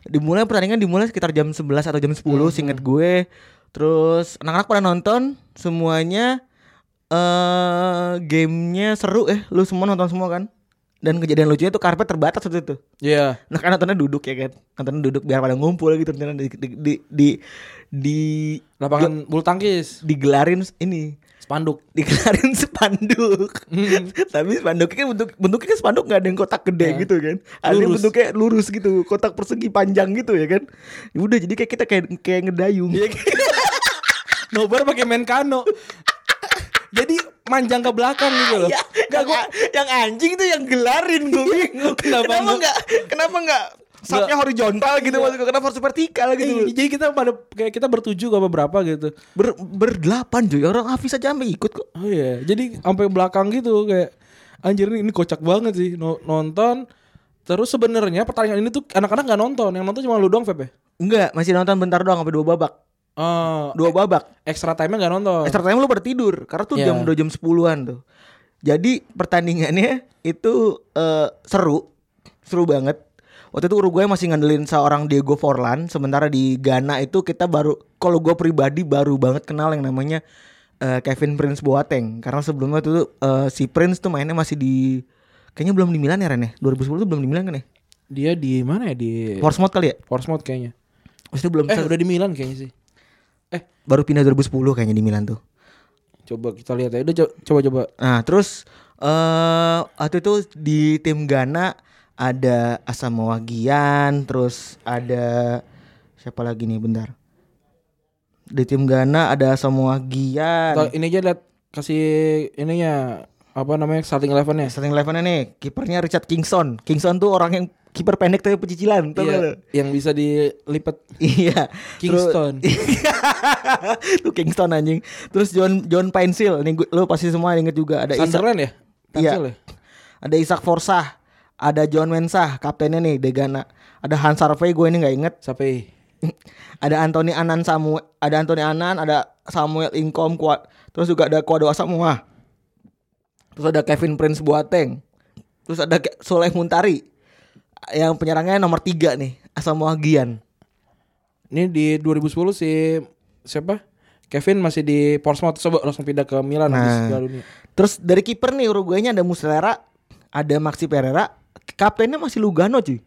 C: dimulai pertandingan dimulai sekitar jam 11 atau jam 10 seinget gue terus anak-anak pada nonton semuanya eh gamenya seru eh lu semua nonton semua kan dan kejadian lucunya tuh karpet terbatas waktu itu
B: Iya.
C: nah kan nontonnya duduk ya kan nontonnya duduk biar pada ngumpul gitu ternyata di di di, di, di-
B: Lapangan bulu tangkis,
C: digelarin ini
B: spanduk.
C: dikelarin spanduk. Tapi spanduknya kan bentuk bentuknya kan spanduk nggak ada yang kotak gede gitu kan. Ada yang
B: Lurus.
C: bentuknya lurus gitu, kotak persegi panjang gitu ya kan. Ya udah jadi kayak kita kayak kayak ngedayung.
B: Nobar pakai main kano. Jadi manjang ke belakang gitu loh.
C: Ya, yang, yang anjing tuh yang gelarin gue bingung.
B: Kenapa
C: Iya. kenapa
B: nggak-
C: nggak kenapa nggak sapnya horizontal gitu maksud gue, kenapa harus vertikal gitu.
B: Iya, Jadi kita pada kayak kita bertujuh apa berapa gitu.
C: Ber, berdelapan cuy, orang Hafiz aja sampai ikut kok.
B: Oh iya, jadi sampai belakang gitu kayak anjir ini, ini kocak banget sih no- nonton. Terus sebenarnya pertandingan ini tuh anak-anak nggak nonton, yang nonton cuma lu doang, Feb ya.
C: Enggak, masih nonton bentar doang sampai dua babak.
B: Eh,
C: Dua babak.
B: extra time-nya nggak nonton.
C: Extra time lu pada tidur karena tuh
B: Oh. Iya.
C: jam udah jam 10-an tuh. Jadi pertandingannya itu eh, seru. Seru banget. Waktu itu Uruguay masih ngandelin seorang Diego Forlan, sementara di Ghana itu kita baru kalau gue pribadi baru banget kenal yang namanya eh, Kevin Prince Boateng karena sebelumnya itu tuh, eh, si Prince tuh mainnya masih di kayaknya belum di Milan ya Ren ya? 2010 tuh belum di Milan kan ya?
B: Dia di mana ya di
C: Portsmouth kali ya?
B: Portsmouth kayaknya.
C: Maksudnya belum
B: Eh, udah di Milan kayaknya sih.
C: baru pindah 2010 kayaknya di Milan tuh.
B: Coba kita lihat ya. Udah co- coba-coba.
C: Nah terus eh waktu itu di tim Ghana ada Asamoah Gyan, terus ada siapa lagi nih bentar. Di tim Ghana ada Asamoah Gyan.
B: Atau ini aja lihat kasih ininya apa namanya starting eleven-nya.
C: Starting eleven nih, kipernya Richard Kingston. Kingston tuh orang yang kiper pendek tapi pecicilan, tau nggak lu?
B: Iya, yang bisa dilipat.
C: Iya.
B: Kingston.
C: Terus- Tuh Kingston anjing. Terus John John Painsil, nih gua- lu pasti semua inget juga ada Isaac
B: Sunderland ya? Pensil
C: Iya. Ada Isak Forsah, ada John Mensah, kaptennya nih Degana. Ada Hans Harvey gue ini nggak inget.
B: Sampai
C: ada Anthony Anan Samuel, ada Anthony Anan, ada Samuel Inkom kuat. Terus juga ada Kuado Asamoah. Terus ada Kevin Prince Boateng. Terus ada Ke- Soleh Muntari. Yang penyerangnya nomor 3 nih, Asamoah Gyan.
B: Ini di 2010 si siapa? Kevin masih di Portsmouth coba langsung pindah ke Milan
C: Nah.
B: habis Piala Dunia.
C: Terus dari kiper nih Uruguaynya ada Muslera, ada Maxi Pereira, kaptennya masih Lugano cuy.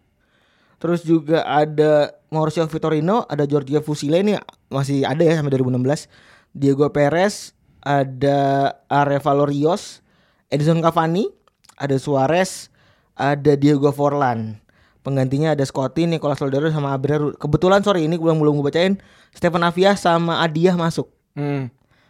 C: Terus juga ada Mauricio Vitorino, ada Giorgio Fusile nih masih ada ya sampai 2016. Diego Perez, ada Arevalo Rios, Edison Cavani, ada Suarez, ada Diego Forlan. Penggantinya ada Scotti, Nicolas Soldero sama Abreu. Kebetulan sorry ini belum belum gue bacain. Stefan Avias sama Adiah masuk.
B: Hmm.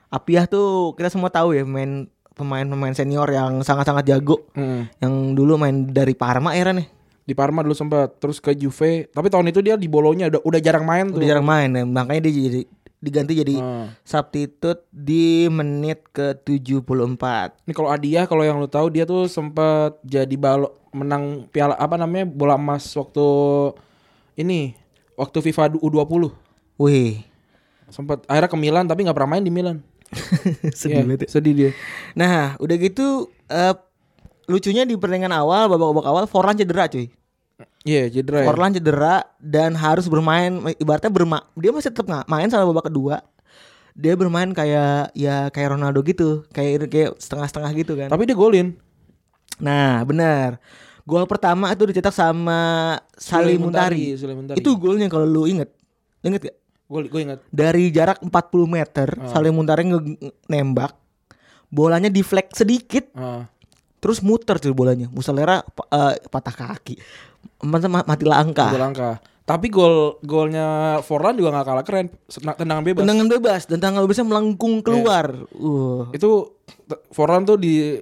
C: Apiah tuh kita semua tahu ya main pemain-pemain senior yang sangat-sangat jago
B: hmm.
C: yang dulu main dari Parma era nih
B: Di Parma dulu sempat terus ke Juve, tapi tahun itu dia di Bolonya udah udah jarang main tuh.
C: udah jarang main ya. makanya dia jadi diganti jadi
B: Hmm.
C: substitute di menit ke 74
B: Ini kalau Adia kalau yang lu tahu dia tuh sempat jadi balo menang piala apa namanya bola emas waktu ini waktu FIFA du- U20
C: wih
B: sempat akhirnya ke Milan tapi nggak pernah main di Milan. Iya,
C: sedih banget ya.
B: sedih dia.
C: nah udah gitu eh, lucunya di pertandingan awal babak-babak awal Forlan cedera cuy
B: Iya, cedera. ya.
C: Forlan cedera dan harus bermain ibaratnya berma dia masih tetap nggak main sampai babak kedua dia bermain kayak ya kayak Ronaldo gitu kayak kayak setengah-setengah gitu kan
B: Tapi dia golin.
C: nah benar gol pertama itu dicetak sama Salim Muntari
B: Salimuntari.
C: itu golnya kalau lu inget inget gak
B: gol gue ingat.
C: dari jarak 40 meter Salim Muntari nge- nge- nembak bolanya deflect sedikit
B: Ah.
C: terus muter tuh bolanya Musalera eh, patah kaki Mati- mati langkah
B: Dua langkah. Tapi gol golnya Forlan juga nggak kalah keren. Sena- Tendangan bebas.
C: Tendangan bebas dan tangan bebasnya melengkung keluar. Uh.
B: Itu t- Forlan tuh di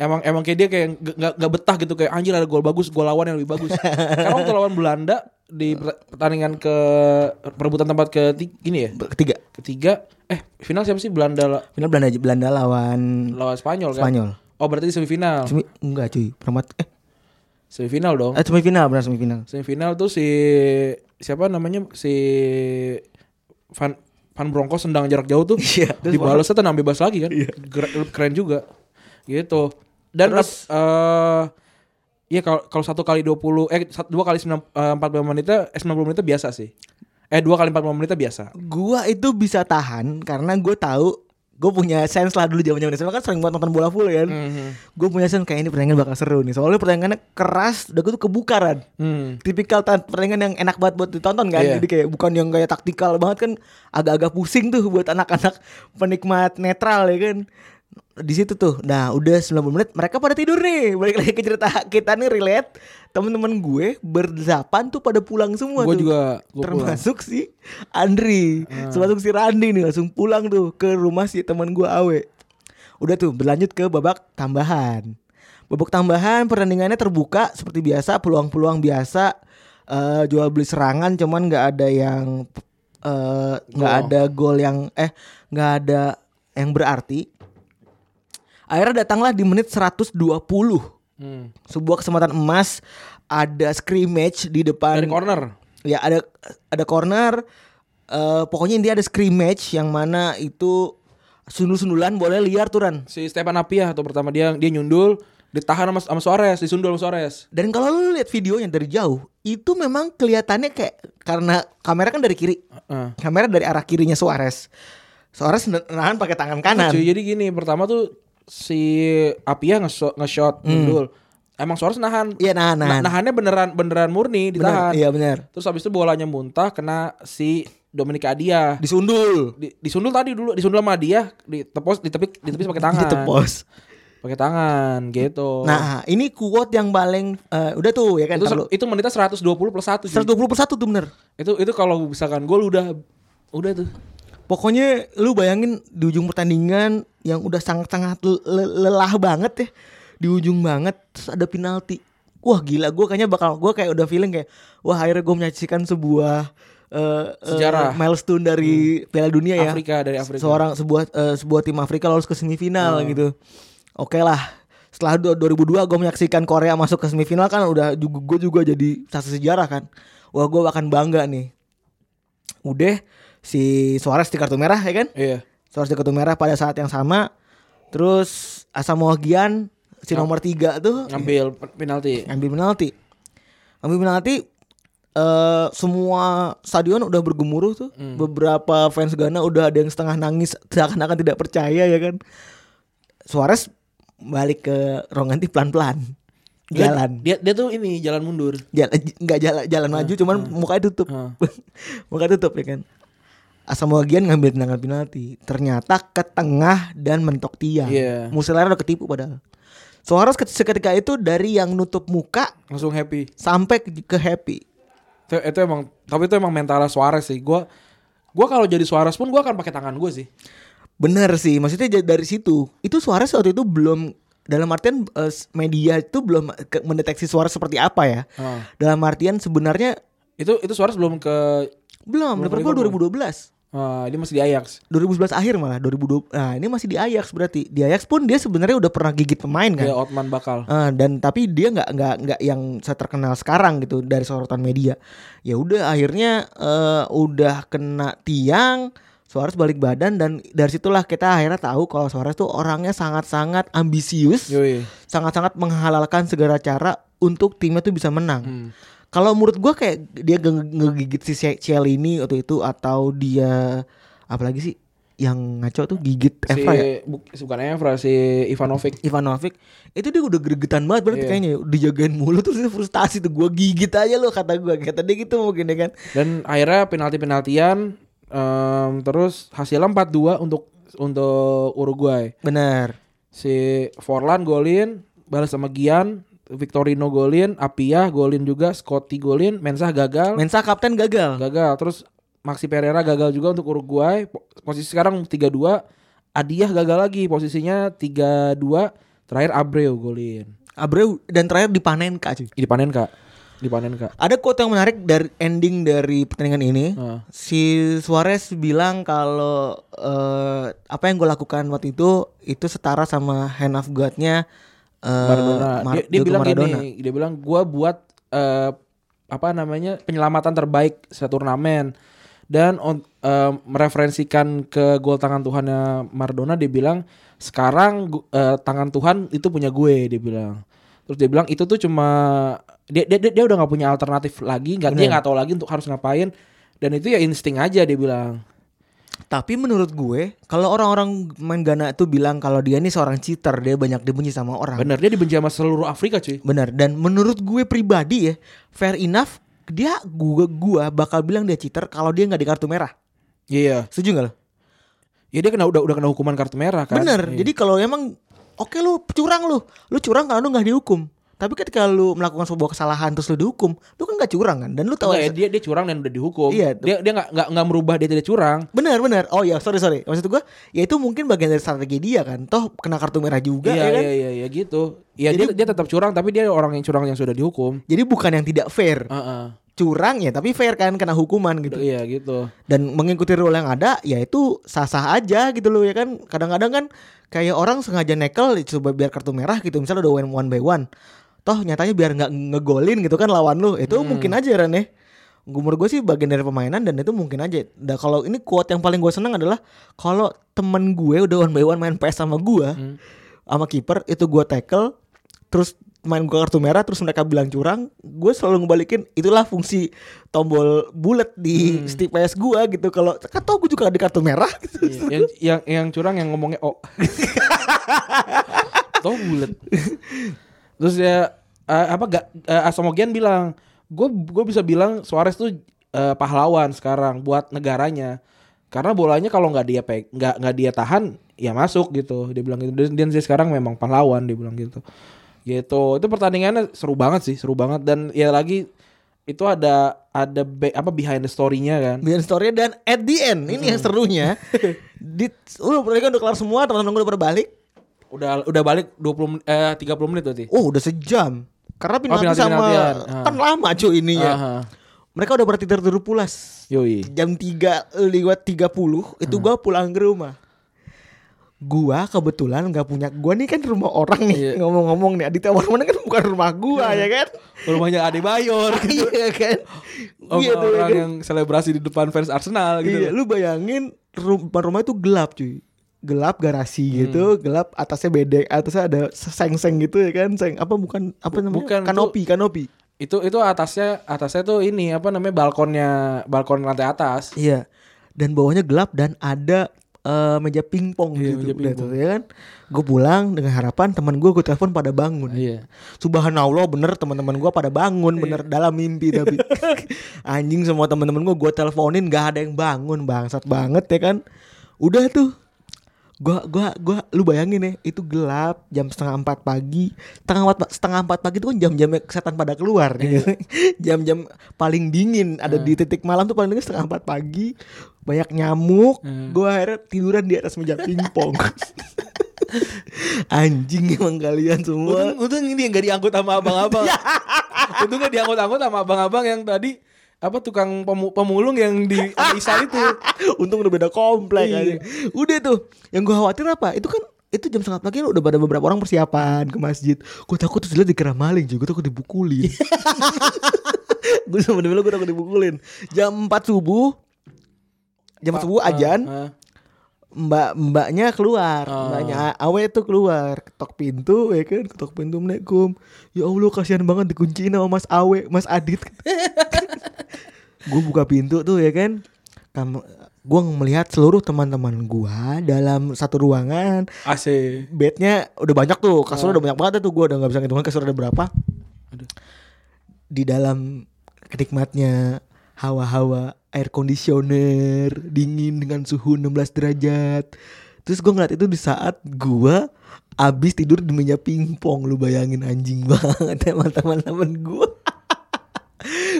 B: emang emang kayak dia kayak nggak- nggak nggak betah gitu kayak anjir ada gol bagus gol lawan yang lebih bagus sekarang waktu lawan Belanda di per- pertandingan ke perebutan tempat ke ini ya
C: Ketiga.
B: ketiga eh final siapa sih Belanda la-
C: Final Belanda Belanda lawan
B: lawan Spanyol kan
C: Spanyol.
B: oh berarti di semifinal
C: Semi, enggak cuy, perempat eh,
B: semifinal dong
C: eh semifinal benar semifinal.
B: semifinal tuh si siapa namanya si Van Van Bronco sendang jarak jauh tuh
C: Iya.
B: dibalasnya tenang bebas lagi kan Ger- keren juga gitu dan ap- eh ya kalau kalau satu kali 20 eh sat- dua kali sembilan- eh, 40 menitnya eh, 90 menitnya biasa sih eh dua kali 40 menitnya biasa
C: Gua itu bisa tahan karena gue tahu gue punya sense lah dulu zaman zaman SMA kan sering banget nonton bola full kan.
B: Mhm.
C: Gue punya sense kayak ini pertandingan bakal seru nih. Soalnya pertandingannya keras, udah gue tuh kebukaran.
B: hmm.
C: Tipikal tan- pertandingan yang enak banget buat ditonton kan.
B: Iya.
C: Jadi kayak bukan yang kayak taktikal banget kan agak-agak pusing tuh buat anak-anak penikmat netral ya kan. Di situ tuh. Nah, udah 90 menit mereka pada tidur nih. Balik lagi ke cerita kita nih relate. Temen-temen gue berdelapan tuh pada pulang semua
B: gue
C: tuh
B: juga Ah. gue pulang
C: termasuk si Andri, termasuk si Randi nih langsung pulang tuh ke rumah si teman gua Awe. Udah tuh berlanjut ke babak tambahan. Babak tambahan pertandingannya terbuka seperti biasa, peluang-peluang biasa eh, jual beli serangan cuman nggak ada yang eh, nggak
B: Gol.
C: ada gol yang eh nggak ada yang berarti. Akhirnya datanglah di menit 120
B: Hmm.
C: sebuah kesempatan emas ada scrimmage di depan
B: dari corner
C: ya ada ada corner eh pokoknya dia ada scrimmage yang mana itu sundul-sundulan boleh liar tuh Ran.
B: si Stefan Apia tuh pertama dia dia nyundul ditahan sama sama Suarez disundul sama Suarez
C: Dan kalau lu lihat videonya dari jauh, itu memang kelihatannya kayak karena kamera kan dari kiri.
B: Heeh.
C: Kamera dari arah kirinya Suarez. Suarez n- nahan pakai tangan kanan.
B: Cuy, jadi gini, pertama tuh si Apia nge- nge-shot nyundul. Emang Suarez nahan.
C: Iya, nahan, Hmm. nahan.
B: Na- nahannya beneran beneran murni
C: Benar,
B: Nah, ditahan.
C: Iya benar.
B: Terus habis itu bolanya muntah kena si Dominic Adia.
C: Disundul.
B: Di, disundul tadi dulu, disundul sama dia, ditepos ditepis ditepis pakai tangan.
C: Ditepos.
B: Pakai tangan gitu.
C: Gitu, Nah, ini quote yang paling eh, udah tuh ya kan.
B: itu
C: Itu
B: ser- itu menitnya 120 plus 1.
C: 120 persatu tuh bener.
B: Itu itu kalau misalkan gol udah udah tuh.
C: Pokoknya lu bayangin di ujung pertandingan yang udah sangat-sangat le- le- lelah banget ya. Di ujung banget terus ada penalti. Wah gila gue kayaknya bakal gue kayak udah feeling kayak wah akhirnya gue menyaksikan sebuah eh, eh,
B: Sejarah. Hmm.
C: milestone dari Piala Dunia ya.
B: Afrika dari Afrika. Hmm.
C: Seorang sebuah eh, sebuah tim Afrika lolos ke semifinal gitu. Oke lah. Setelah du- 2002 gue menyaksikan Korea masuk ke semifinal kan udah juga gue juga jadi saksi sejarah kan. Wah gue akan bangga nih. Udah si Suarez di kartu merah ya kan?
B: Iya.
C: Suarez di kartu merah pada saat yang sama. Terus Asam Wagian si nomor tiga tuh
B: Ngambil
C: Iya.
B: pe- penalti.
C: ambil penalti. Ambil penalti eh semua stadion udah bergemuruh tuh.
B: Hmm.
C: Beberapa fans Ghana udah ada yang setengah nangis seakan-akan tidak percaya ya kan. Suarez balik ke ruang ganti pelan-pelan.
B: Dia-
C: Jalan.
B: Dia, dia tuh ini jalan mundur.
C: Jalan nggak jalan jalan maju
B: Ah,
C: cuman mukanya tutup.
B: Hmm.
C: mukanya tutup ya kan. Asamoagian ngambil tendangan penalti. Ternyata ke tengah dan mentok tiang.
B: Iya.
C: Musiala udah ketipu padahal. Suarez ket- seketika itu dari yang nutup muka
B: Langsung happy.
C: sampai ke, ke happy.
B: itu, itu emang tapi itu emang mentalnya Suarez sih gua gua kalau jadi Suarez pun gua akan pakai tangan gue sih
C: Bener sih, maksudnya ja- dari situ. Itu suara waktu itu belum dalam artian eh, s- media itu belum ke- mendeteksi suara seperti apa ya.
B: Ah.
C: Dalam artian sebenarnya
B: itu itu Suarez belum ke
C: belum, Liverpool 2012.
B: ah, dia masih di Ajax
C: 2011 akhir malah 2020. Nah, ini masih di Ajax berarti. Di Ajax pun dia sebenarnya udah pernah gigit pemain kan.
B: dia Otman bakal
C: Eh, dan tapi dia nggak nggak nggak yang terkenal sekarang gitu dari sorotan media. Ya udah akhirnya eh, udah kena tiang, Suarez balik badan dan dari situlah kita akhirnya tahu kalau Suarez tuh orangnya sangat-sangat ambisius,
B: Yoi.
C: sangat-sangat menghalalkan segala cara untuk timnya tuh bisa menang.
B: Hmm.
C: Kalau menurut gua kayak dia nge- ngegigit si ini waktu itu atau dia apalagi sih yang ngaco tuh gigit
B: si
C: Evra ya.
B: bu- si- bukan Evra si Ivanovic
C: Ivanovic itu dia udah gregetan banget berarti
B: Iya.
C: kayaknya dijagain mulu terus dia frustasi tuh gua gigit aja lo kata gua kata dia gitu mungkin ya kan
B: dan akhirnya penalti penaltian terus hasilnya 4-2 untuk untuk Uruguay
C: benar
B: si Forlan golin balas sama Gian Victorino golin Apia golin juga Scotty golin Mensah gagal
C: Mensa kapten gagal
B: gagal terus Maxi Pereira gagal juga untuk Uruguay Po- posisi sekarang 3-2 Adiah gagal lagi posisinya 3-2 Terakhir Abreu golin.
C: Abreu dan terakhir dipanen kak cuy.
B: Ih, Dipanen kak. Dipanen kak.
C: Ada quote yang menarik dari ending dari pertandingan ini.
B: Heeh.
C: Si Suarez bilang kalau eh, apa yang gue lakukan waktu itu itu setara sama hand of God-nya eh,
B: Maradona.
C: Mar-
B: dia, dia
C: Diego
B: bilang
C: Maradona.
B: gini, dia bilang gua buat eh, apa namanya penyelamatan terbaik satu turnamen dan on- eh, mereferensikan ke gol tangan Tuhannya Maradona dia bilang sekarang gu- eh, tangan Tuhan itu punya gue dia bilang terus dia bilang itu tuh cuma dia dia, dia, dia udah nggak punya alternatif lagi nggak dia nggak tahu lagi untuk harus ngapain dan itu ya insting aja dia bilang
C: Tapi menurut gue kalau orang-orang main Ghana itu bilang kalau dia ini seorang cheater, dia banyak dibenci sama orang.
B: bener dia dibenci sama seluruh Afrika cuy
C: Benar. Dan menurut gue pribadi ya, fair enough dia gue gua bakal bilang dia cheater kalau dia nggak di kartu merah.
B: iya
C: Setuju nggak lo?
B: ya dia kena udah udah kena hukuman kartu merah kan
C: Bener.
B: Iya.
C: Jadi kalau emang oke lu curang lu, lu curang kalau lu nggak dihukum. Tapi ketika lu melakukan sebuah kesalahan terus lu dihukum, lu kan nggak curang kan? Dan lu tahu
B: Enggak ya, dia dia curang dan udah dihukum.
C: Iya.
B: Dia dia nggak nggak nggak merubah dia tidak curang.
C: Benar, benar. Oh iya, sorry, sorry. Maksud gue, ya itu mungkin bagian dari strategi dia kan. Toh kena kartu merah juga
B: iya,
C: ya kan.
B: iya iya iya gitu. Iya dia
C: Jadi-
B: dia tetap curang tapi dia orang yang curang yang sudah dihukum.
C: Jadi bukan yang tidak fair.
B: Heeh.
C: Curang ya, tapi fair kan kena hukuman gitu.
B: Iya gitu.
C: Dan mengikuti rule yang ada, ya itu sah-sah aja gitu loh ya kan. Kadang-kadang kan kayak orang sengaja nekel coba biar kartu merah gitu. Misalnya udah one, one by one. Toh nyatanya biar nggak ngegolin gitu kan lawan lu. Itu mungkin aja Ran ya. Umur gue sih bagian dari pemainan dan itu mungkin aja. Nah kalau ini quote yang paling gue seneng adalah kalau temen gue udah one by one main PS sama gue, sama kiper itu gue tackle terus main gue kartu merah terus mereka bilang curang gue selalu ngebalikin itulah fungsi tombol bulat di
B: Hmm.
C: stick PS gue gitu kalau kan tau gue juga ada kartu merah gitu
B: Iya. yang yang yang curang yang ngomongnya oh. Tuh bulet. Terus dia eh, apa gak Asamogian bilang, "Gue gue bisa bilang Suarez tuh eh, pahlawan sekarang buat negaranya." Karena bolanya kalau nggak dia peg, nggak nggak dia tahan, ya masuk gitu. Dia bilang gitu. Dan, dan dia sekarang memang pahlawan, dia bilang gitu. Gitu. Itu pertandingannya seru banget sih, seru banget dan ya lagi itu ada ada be- apa behind the story-nya kan.
C: Biar story dan at the end ini
B: Hmm.
C: yang serunya di udah mereka udah kelar semua teman-teman gue udah berbalik
B: Udah udah balik 20 men- eh 30 menit berarti.
C: oh udah sejam karena
B: Oh,
C: penalti,
B: penalti-
C: sama
B: penaltian. Ah.
C: kan lama cuy ininya
B: Aha.
C: mereka udah pada tidur tidur pulas
B: Yoi.
C: jam 3 lewat 30
B: Hmm.
C: itu gua pulang ke rumah. Gua kebetulan nggak punya gua nih kan rumah orang nih.
B: Iya.
C: Ngomong-ngomong nih Aditya Warmana kan bukan rumah gua ya kan.
B: Rumahnya Ade Bayor gitu.
C: iya kan.
B: Om
C: iya tuh. ya
B: Oh, orang
C: kan?
B: yang selebrasi di depan fans Arsenal gitu.
C: Iya, lu bayangin rumah rumah itu gelap cuy. Gelap garasi
B: Hmm.
C: gitu, gelap atasnya bedek, atasnya ada seng-seng gitu ya kan, seng apa bukan apa namanya?
B: Bukan, itu-
C: kanopi, kanopi.
B: Itu itu atasnya atasnya tuh ini apa namanya balkonnya balkon lantai atas.
C: Iya. Dan bawahnya gelap dan ada eh, meja pingpong
B: Iya, meja
C: gitu. Udah
B: pingpong.
C: tuh, ya kan. Gue pulang dengan harapan teman gue gue telepon pada bangun.
B: Iya.
C: Subhanallah bener teman-teman gue pada bangun bener dalam mimpi tapi anjing semua teman-teman gue gue teleponin gak ada yang bangun bangsat banget ya kan. Udah tuh gua gua gua lu bayangin ya itu gelap jam setengah empat pagi setengah empat setengah empat pagi itu kan jam-jam kesehatan pada keluar ya kan? jam-jam paling dingin ada di titik malam tuh paling dingin setengah empat pagi banyak nyamuk gua akhirnya tiduran di atas meja pingpong anjing emang kalian semua
B: Eh, Untung, untung ini enggak diangkut sama abang-abang. untung enggak diangkut-angkut sama abang-abang yang tadi apa tukang pemu- pemulung yang di Isa itu.
C: Untung udah beda komplek
B: Iya.
C: aja. Udah tuh. Yang gue khawatir apa? Itu kan itu jam setengah pagi udah pada beberapa orang persiapan ke masjid. Gue takut terus dilihat dikira maling juga. Gue takut dipukulin. gue sebenernya gue takut dipukulin. Jam 4 subuh. Jam 4 subuh ajan.
B: Ah,
C: Mbak mbaknya keluar,
B: Ah.
C: mbaknya A- Awe tuh keluar, ketok pintu, ya kan, ketok pintu menekum. Ya Allah kasihan banget dikunciin sama Mas Awe, Mas Adit. gue buka pintu tuh ya kan, Kam- gue melihat seluruh teman-teman gue dalam satu ruangan,
B: ah. AC.
C: bednya udah banyak tuh, kasur udah banyak banget tuh, gue udah nggak bisa ngitung kasur ada berapa. Di dalam kenikmatnya hawa-hawa air conditioner dingin dengan suhu 16 derajat. Terus gue ngeliat itu di saat gue abis tidur di meja pingpong lu bayangin anjing banget emang teman-teman gue.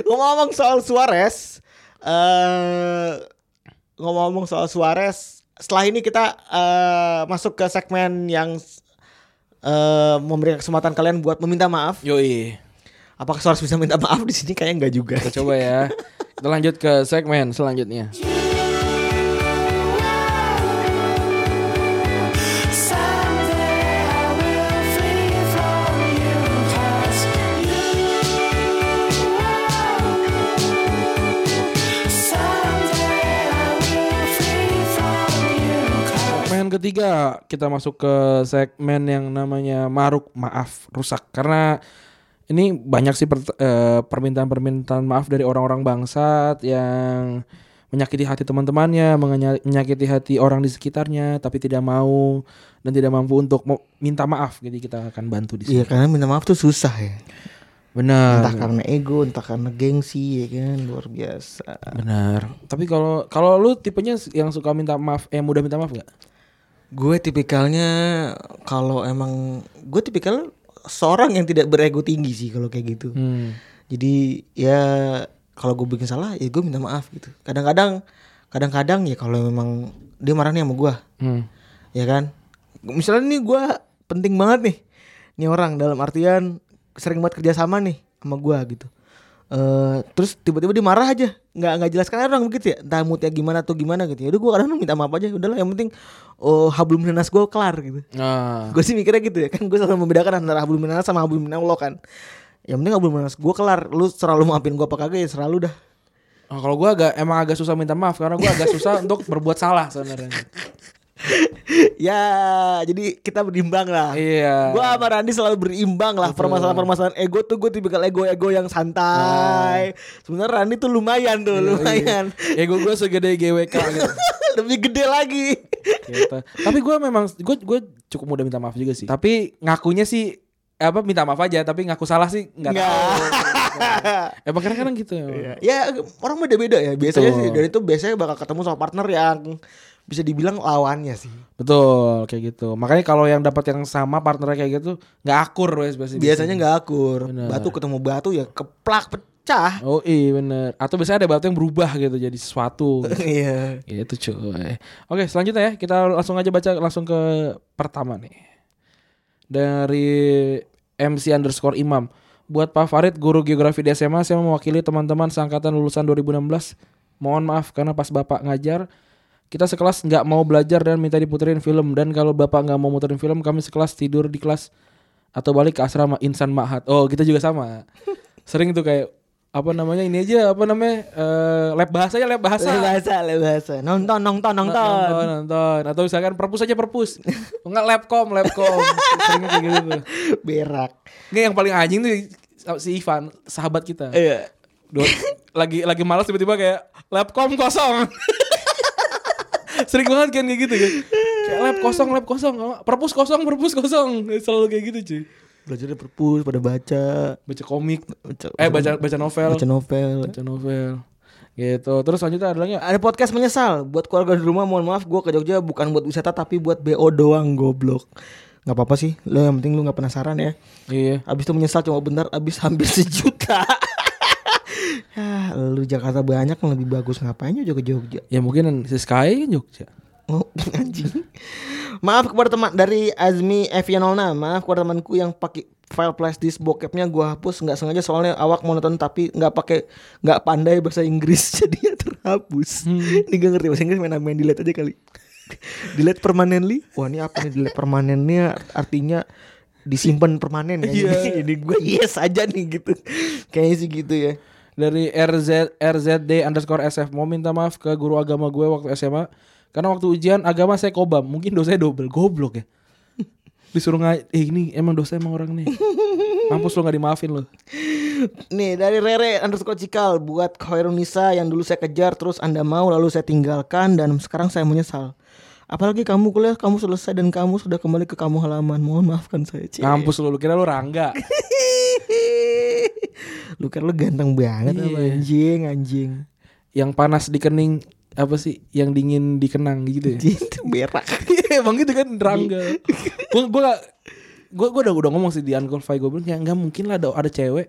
C: ngomong soal Suarez, eh ngomong-ngomong soal Suarez, setelah ini kita eh, masuk ke segmen yang eh, memberikan kesempatan kalian buat meminta maaf.
B: Yoi.
C: Apakah Suarez bisa minta maaf di sini? Kayaknya enggak juga.
B: Kita coba ya. Kita lanjut ke segmen selanjutnya.
D: Someday I will flee from you 'cause you are. Someday I will flee from you 'cause
B: Segmen ketiga kita masuk ke segmen yang namanya maruk maaf rusak karena ini banyak sih per- eh, permintaan-permintaan maaf dari orang-orang bangsat yang menyakiti hati teman-temannya, mengenya- menyakiti hati orang di sekitarnya tapi tidak mau dan tidak mampu untuk mau minta maaf. Jadi kita akan bantu di sini.
C: Iya karena minta maaf tuh susah ya. Entah
B: Benar.
C: karena ego, entah karena gengsi ya kan luar biasa.
B: Benar. Tapi kalau kalau lu tipenya yang suka minta maaf, yang mudah minta maaf gak?
C: Gue tipikalnya kalau emang gue tipikal seorang yang tidak berego tinggi sih kalau kayak gitu.
B: Hmm.
C: Jadi ya kalau gue bikin salah ya gue minta maaf gitu. Kadang-kadang kadang-kadang ya kalau memang dia marah nih sama gue,
B: Hmm.
C: ya kan. Misalnya nih gue penting banget nih, nih orang dalam artian sering banget kerjasama nih sama gue gitu. Eh terus tiba-tiba dia marah aja nggak nggak jelaskan orang begitu ya entah moodnya gimana atau gimana gitu ya udah gue kadang minta maaf aja udahlah yang penting oh hablum minnas gue kelar gitu
B: Nah,
C: Gue sih mikirnya gitu ya kan gue selalu membedakan antara hablum minallah sama hablum minallah kan. Yang penting hablum minallah gue kelar. Lu selalu maafin gue apa kagak ya selalu dah.
B: Nah, kalau gue agak emang agak susah minta maaf karena gue agak susah untuk berbuat salah sebenarnya.
C: ya jadi kita berimbang lah.
B: Iya.
C: Gue sama Randi selalu berimbang lah permasalahan-permasalahan ego tuh gue tipikal ego-ego yang
B: Nah.
C: santai. Sebenarnya Randi tuh lumayan
B: Iya,
C: tuh lumayan.
B: Ego gue Ya, segede GWK gitu.
C: Lebih gede lagi.
B: Gitu. Tapi gue memang gue gue cukup mudah minta maaf juga sih. Tapi ngakunya sih apa minta maaf aja tapi ngaku salah sih nggak tahu. Emang kadang-kadang gitu.
C: Ya, ya orang beda-beda ya biasanya
B: Betul.
C: sih dan itu biasanya bakal ketemu sama partner yang bisa dibilang lawannya sih.
B: Betul kayak gitu. Makanya kalau yang dapat yang sama partnernya kayak gitu nggak akur wes biasanya.
C: biasanya nggak akur
B: Bener.
C: batu ketemu batu ya keplak pecah
B: Oh iya bener. Atau biasanya ada batu yang berubah gitu jadi sesuatu. Gitu.
C: iya
B: Gitu cuy. Oke selanjutnya ya kita langsung aja baca langsung ke pertama nih. Dari MC underscore Imam. Buat Pak Farid guru geografi di SMA saya mewakili teman-teman seangkatan lulusan 2016. Mohon maaf karena pas Bapak ngajar kita sekelas nggak mau belajar dan minta diputerin film dan kalau bapak nggak mau muterin film kami sekelas tidur di kelas atau balik ke asrama insan mahat oh kita juga sama sering tuh kayak apa namanya ini aja apa namanya eh, lab bahasa ya lab bahasa
C: bahasa bahasa nonton nonton nonton
B: nonton nonton. atau misalkan perpus aja perpus enggak labcom labcom sering kayak gitu tuh
C: berak
B: Nggak, yang paling anjing tuh si Ivan sahabat kita
C: iya
B: Dua- lagi lagi malas tiba-tiba kayak labcom kosong sering banget kan kayak gitu kan kayak lab kosong lab kosong perpus kosong perpus kosong selalu kayak gitu cuy
C: belajar dari perpus pada baca
B: baca komik
C: baca,
B: eh baca baca novel
C: baca novel
B: baca novel gitu terus selanjutnya adalah nggak?
C: ada podcast menyesal buat keluarga di rumah mohon maaf gue ke Jogja bukan buat wisata tapi buat bo doang goblok nggak apa-apa sih lo yang penting lo nggak penasaran ya
B: iya
C: Abis itu menyesal cuma bentar Abis hampir sejuta Hah, Lu Jakarta banyak yang lebih bagus Ngapain juga ke Jogja
B: ya mungkin si Sky kan Jogja
C: Oh, anjing. Maaf kepada teman dari Azmi Evianolna. Maaf kepada temanku yang pakai file flash disk bokepnya gua hapus nggak sengaja soalnya awak monoton tapi nggak pakai nggak pandai bahasa Inggris jadi terhapus. Ini gak ngerti bahasa Inggris main-main delete aja kali. delete permanently. Wah, ini apa nih delete permanentnya artinya disimpan permanen ya.
B: Iya.
C: Ini gue yes aja nih gitu. Kayaknya sih gitu ya.
B: dari RZ RZD underscore SF mau minta maaf ke guru agama gue waktu SMA karena waktu ujian agama saya kobam mungkin dosanya double goblok ya disuruh ngai eh ini emang dosa emang orang nih mampus lo nggak dimaafin lo
C: Nih dari Rere underscore Cikal buat Khairunisa yang dulu saya kejar terus Anda mau lalu saya tinggalkan dan sekarang saya menyesal. Apalagi kamu kuliah kamu selesai dan kamu sudah kembali ke kamu halaman. Mohon maafkan saya, Ci.
B: mampus lo lu kira lo rangga
C: lu kan lu ganteng banget apa anjing anjing.
B: yang panas di kening apa sih yang dingin dikenang gitu ya
C: Itu berak.
B: emang gitu kan rangga gue gue gue udah udah ngomong sih di Unqualified gue bilang ya nggak mungkin lah ada, ada cewek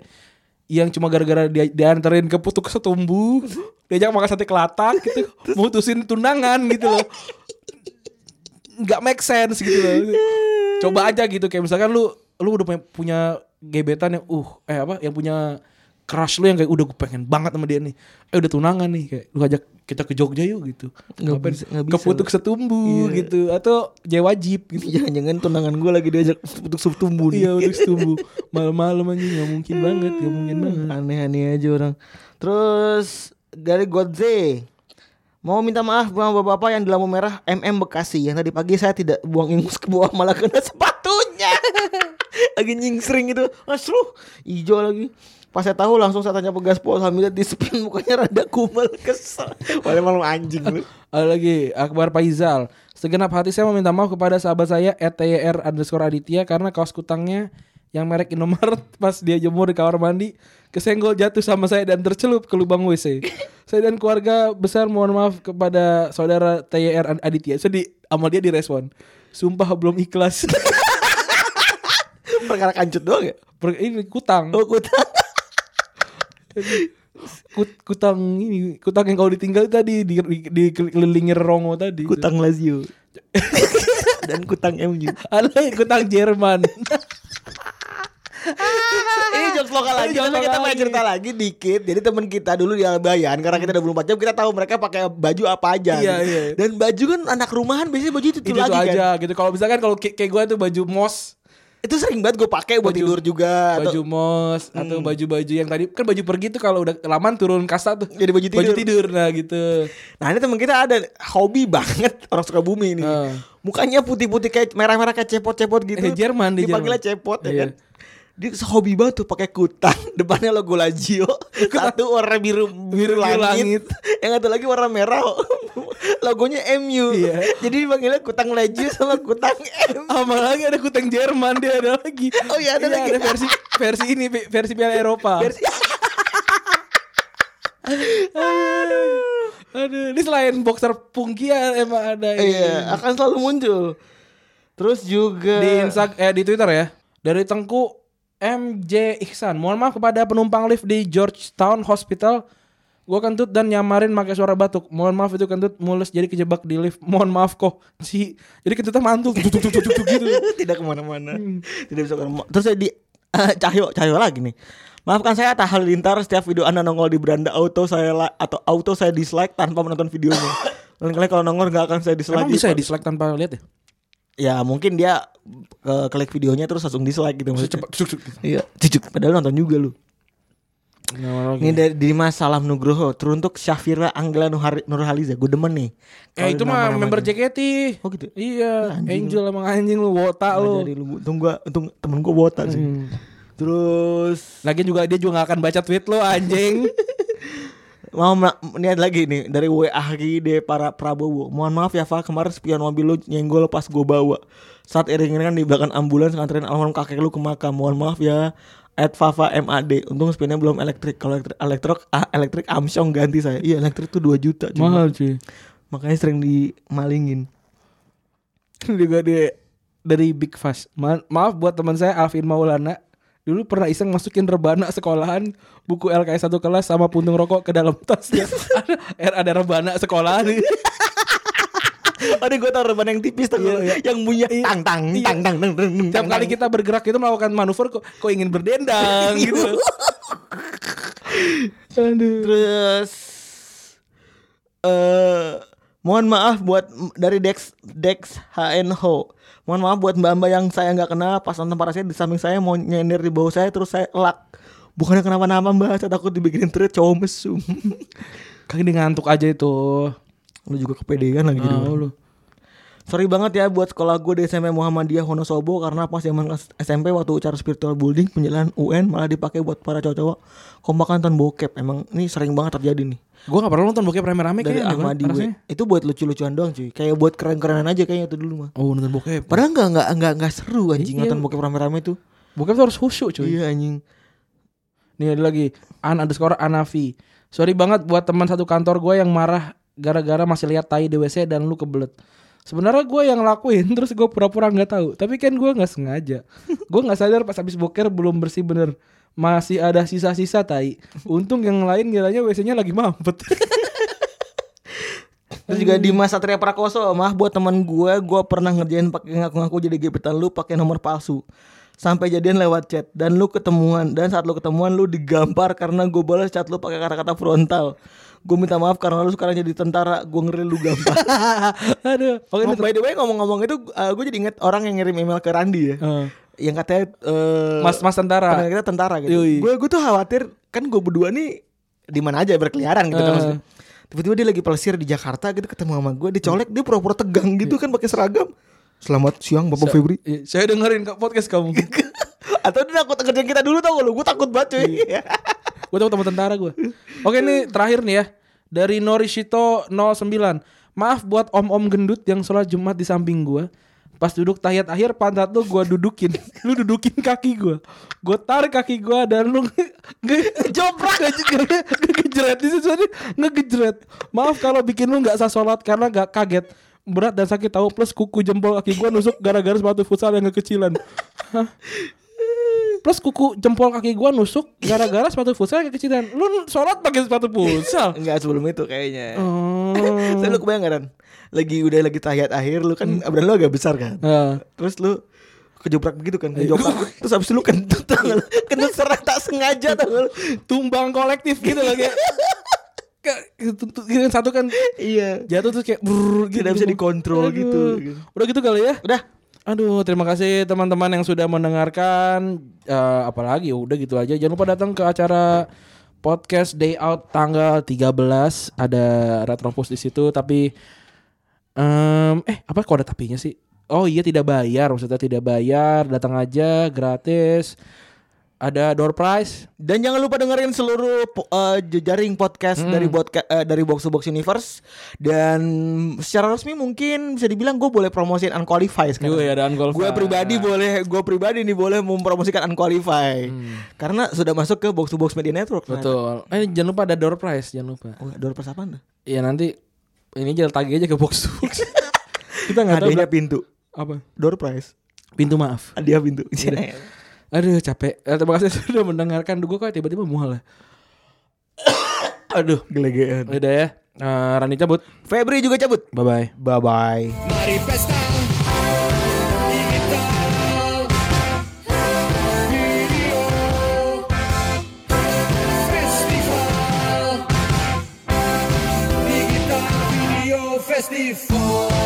B: yang cuma gara-gara dia dianterin ke putu kesetumbu diajak makan sate kelatak gitu mutusin tunangan gitu loh nggak make sense gitu loh coba aja gitu kayak misalkan lu lu udah punya, punya gebetan yang uh eh apa yang punya crush lu yang kayak udah gue pengen banget sama dia nih eh udah tunangan nih kayak lu ajak kita ke Jogja yuk gitu
C: Nggak
B: Ngapain?
C: bisa- nggak
B: ke
C: bisa,
B: Putuk
C: Bro.
B: Setumbu
C: Iya.
B: gitu atau Jewajib gitu
C: Jangan-jangan tunangan gue lagi diajak untuk subtumbu
B: iya
C: nih.
B: Putuk Setumbu malam-malam anjing nggak mungkin banget nggak mungkin
C: Hmm.
B: banget
C: Aneh-aneh aja orang. Terus dari Godze. Mau minta maaf sama bapak-bapak yang di lampu merah MM Bekasi yang tadi pagi saya tidak buang ingus ke bawah malah kena sepatunya. lagi nyingsring gitu. Asruh, hijau lagi. Pas saya tahu langsung saya tanya pegas pol sambil di spin mukanya rada kumal kesel. Walau malu anjing lu.
B: Ada lagi Akbar Paizal Segenap hati saya meminta maaf kepada sahabat saya ETYR underscore Aditya Karena kaos kutangnya yang merek Indomaret Pas dia jemur di kamar mandi Kesenggol jatuh sama saya dan tercelup ke lubang WC Saya dan keluarga besar mohon maaf kepada saudara TYR Aditya Sedih sama dia direspon Sumpah belum ikhlas
C: Perkara kancut doang ya?
B: Per- Ini kutang
C: Oh, kutang.
B: Kut- Kutang ini Kutang yang kalau ditinggal tadi Di, di, dikelilingi rongo tadi
C: Kutang Lazio. Dan kutang MU.
B: Ada yang Ah, kutang Jerman
C: Ini jokes lokal lagi.
B: jokes
C: Tapi Oh, gitu kita
B: lokal
C: mau
B: lagi.
C: cerita lagi dikit. Jadi teman kita dulu di Albayan karena kita 24 jam kita tahu mereka pakai baju apa aja. gitu.
B: Iya, iya.
C: Dan baju kan anak rumahan biasanya baju itu,
B: itu
C: tuh lagi
B: tuh aja
C: kan.
B: gitu kalau misalkan kalau kayak kayak gue tuh baju mos
C: Itu sering banget gue pakai buat
B: Baju-
C: tidur juga.
B: baju
C: Atau- Hmm.
B: mos atau baju-baju yang tadi kan baju pergi tuh kalau udah laman turun kasta tuh
C: Jadi baju tidur.
B: nah gitu
C: Nah ini teman kita ada hobi banget orang suka bumi ini.
B: Heeh.
C: Mukanya putih-putih kayak merah-merah kayak cepot-cepot gitu.
B: Eh, Jerman, di
C: Dipanggilnya
B: Jerman.
C: cepot ya
B: Iya.
C: kan. Dia hobi banget tuh pakai kutang Depannya logo Lazio Satu warna biru
B: Biru
C: biru, langit.
B: langit.
C: Yang satu lagi warna merah Logonya MU
B: Iya. Oh,
C: Jadi dipanggilnya kutang Lazio sama kutang MU
B: sama Ah, lagi ada kuteng Jerman dia ada lagi
C: Oh, iya, ada
B: Iya,
C: lagi.
B: versi versi ini Pi- versi Piala Eropa
C: Versi-
B: aduh ini selain boxer Pungki ya emang ada ini.
C: Iya akan selalu muncul Terus juga
B: di Insta eh di Twitter ya. Dari Tengku MJ Ihsan. Mohon maaf kepada penumpang lift di Georgetown Hospital. Gua kentut dan nyamarin pakai suara batuk. Mohon maaf itu kentut mulus jadi kejebak di lift. Mohon maaf kok. Si jadi kentutnya mantul Tuk, tuk, tuk, tuk, tuk, gitu.
C: tidak kemana-mana tidak bisa kemana terus saya di eh, cahyo cahyo lagi nih maafkan saya tak halilintar setiap video anda nongol di beranda auto saya la- atau auto saya dislike tanpa menonton videonya lain kali kalau nongol nggak akan saya dislike gitu.
B: Emang bisa ya dislike tanpa lihat ya?
C: ya mungkin dia eh, klik videonya terus langsung dislike gitu maksudnya
B: Cepat tuk, tuk.
C: iya cucuk padahal nonton juga lu Iya.
B: Nah, oke.
C: ini dari Dimas Salam Nugroho teruntuk Syafira Anggela Nuhari- Nurhaliza gue demen nih
B: Eh
C: Kalau
B: itu mah
C: nama-nama
B: member
C: nih.
B: JKT.
C: Oh gitu?
B: Iya,
C: Anjing
B: Angel emang anjing lu, wota
C: Nggak
B: lu.
C: jadi lu untung gua untung temen gua botak sih terus
B: Lagi juga dia juga gak akan baca tweet lu anjing.
C: Mau niat lagi nih dari WA de para Prabowo. Mohon maaf ya Fa, kemarin spion mobil lu nyenggol pas gue bawa. Saat iring-iringan di belakang ambulans nganterin almarhum kakek lu ke makam. Mohon maaf ya. At Fafa MAD. Untung spionnya belum elektrik. Kalau elektrik elektrik, ah, elektrik Amsyong ganti saya. Iya, elektrik tuh 2 juta. cuy.
B: sih.
C: Makanya sering dimalingin.
B: juga di dari Big Fast. Ma- maaf buat teman saya Alvin Maulana. Dulu pernah iseng masukin rebana sekolahan, buku LKS satu kelas sama puntung rokok ke dalam tasnya. ada, ada rebana sekolahan.
C: Oh, ini gue tau reban yang tipis tuh.
B: Iya, iya.
C: Yang bunyi
B: Iya.
C: tang tang
B: Iya.
C: tang tang tang tang.
B: Setiap kali kita bergerak itu melakukan manuver kok, kok ingin berdendang gitu. Aduh.
C: Terus eh mohon maaf buat m- dari Dex Dex HNHO. Mohon maaf buat mbak-mbak yang saya nggak kenal pas nonton parasnya di samping saya mau nyender di bawah saya terus saya elak. Bukannya kenapa-napa mbak, saya takut dibikinin treat cowok mesum.
B: Kaki dia ngantuk aja itu.
C: lu juga kepedean lagi jadi
B: Tahu
C: orang.
B: Nah, Ah, lu.
C: Sorry banget ya buat sekolah gue di SMP Muhammadiyah Wonosobo karena pas zaman kelas SMP waktu ucara spiritual building penjelasan UN malah dipakai buat para cowok-cowok kompakan nonton bokep. Emang ini sering banget terjadi nih.
B: Gua gak pernah nonton bokep rame-rame
C: dari
B: kayaknya.
C: Ahmadi
B: gua, ya, rasanya.
C: W. Itu buat lucu-lucuan doang cuy. Kayak buat keren-kerenan aja kayaknya itu dulu mah.
B: Oh nonton bokep.
C: Padahal nggak nggak nggak nggak seru anjing
B: Iya.
C: nonton bokep rame-rame tuh.
B: Bokep tuh harus khusyuk cuy.
C: Iya anjing.
B: Nih ada lagi An underscore Anavi Sorry banget buat teman satu kantor gue yang marah Gara-gara masih lihat tai di WC dan lu kebelet Sebenarnya gue yang lakuin Terus gue pura-pura gak tahu Tapi kan gue gak sengaja Gue gak sadar pas habis boker belum bersih bener Masih ada sisa-sisa tai Untung yang lain kiranya WC-nya lagi mampet
C: Terus juga di masa Satria Prakoso, mah buat teman gue, gue pernah ngerjain pakai ngaku-ngaku jadi gebetan lu pakai nomor palsu. Sampai jadian lewat chat dan lu ketemuan dan saat lu ketemuan lu digampar karena gue balas chat lu pakai kata-kata frontal. Gue minta maaf karena lu sekarang jadi tentara, gue ngeri lu gampar.
B: Aduh. Oke,
C: Oh, by the way ngomong-ngomong itu gue jadi inget orang yang ngirim email ke Randi ya.
B: Heeh.
C: Yang katanya eh,
B: Mas Mas
C: Karena
B: Tentara.
C: kita tentara gitu.
B: Yoi.
C: Gue gue tuh khawatir kan gue berdua nih di mana aja berkeliaran gitu kan
B: Eh.
C: maksudnya. Tiba-tiba dia lagi pelesir di Jakarta gitu ketemu sama gue dicolek dia pura-pura tegang gitu kan pakai seragam. Selamat siang Bapak Febri.
B: Iya, Saya dengerin ke podcast kamu.
C: Atau dia takut kerja kita dulu tau gak lu? Gue takut banget cuy.
B: gue tahu teman tentara gue. Oke nih terakhir nih ya dari Norishito 09. Maaf buat om-om gendut yang sholat Jumat di samping gue. Pas duduk tahiyat akhir pantat lu gue dudukin. Lu dudukin kaki gue. Gue tarik kaki gue dan lu ngejoprak ngegejret di situ tadi, ngegejret. Maaf kalau bikin lu nggak sah sholat karena nggak kaget berat dan sakit tahu plus kuku jempol kaki gue nusuk gara-gara sepatu futsal yang kekecilan. Hah? Plus kuku jempol kaki gua nusuk gara-gara sepatu futsal yang kekecilan. Lu sholat pakai sepatu futsal.
C: Enggak sebelum itu kayaknya.
B: Oh.
C: Saya lu kebayang gak, Ran? Lagi udah lagi tahiyat akhir lu kan abdan lu agak besar kan.
B: Nah,
C: Terus lu kejoprak begitu kan kejoprak terus abis itu lu kentut tau gak lu? kentut secara tak sengaja tau gak lu?
B: tumbang kolektif gitu loh kayak. Kayak gitu, tuh, gitu kan satu kan
C: iya
B: jatuh terus kayak brrrr gitu.
C: tidak bisa dikontrol gitu
B: Udah gitu kali ya.
C: udah
B: Aduh, terima kasih teman-teman yang sudah mendengarkan. Eh, apalagi udah gitu aja. Jangan lupa datang ke acara podcast Day Out tanggal 13 ada Retropus di situ tapi em, eh apa kok ada tapinya sih? Oh iya tidak bayar, maksudnya tidak bayar, datang aja gratis. Ada door prize.
C: Dan jangan lupa dengerin seluruh po- eh, jejaring podcast dari bodca- eh, dari Box to Box Universe dan secara resmi mungkin bisa dibilang gue boleh promosiin unqualified
B: Juga
C: sekarang.
B: ada unqualified.
C: Gue pribadi boleh gue pribadi nih boleh mempromosikan unqualified karena sudah masuk ke Box to Box Media Network. ternyata.
B: Betul. Eh jangan lupa ada door prize, jangan lupa.
C: Oh, door pas apaan tuh?
B: Iya nanti ini aja tagih aja ke box to box. Kita nggak tahu
C: Hadiahnya pintu.
B: apa.
C: Door prize.
B: Pintu maaf.
C: Hadiah pintu.
B: Aduh capek. Eh, terima kasih sudah mendengarkan. Duh, gue kok tiba-tiba mual ya. Aduh.
C: Gelegean.
B: Udah ya. Eh, Rani cabut.
C: Febri juga cabut.
B: Bye-bye.
C: Bye bye.
D: Mari pesta digital Video Festival Digital Video Festival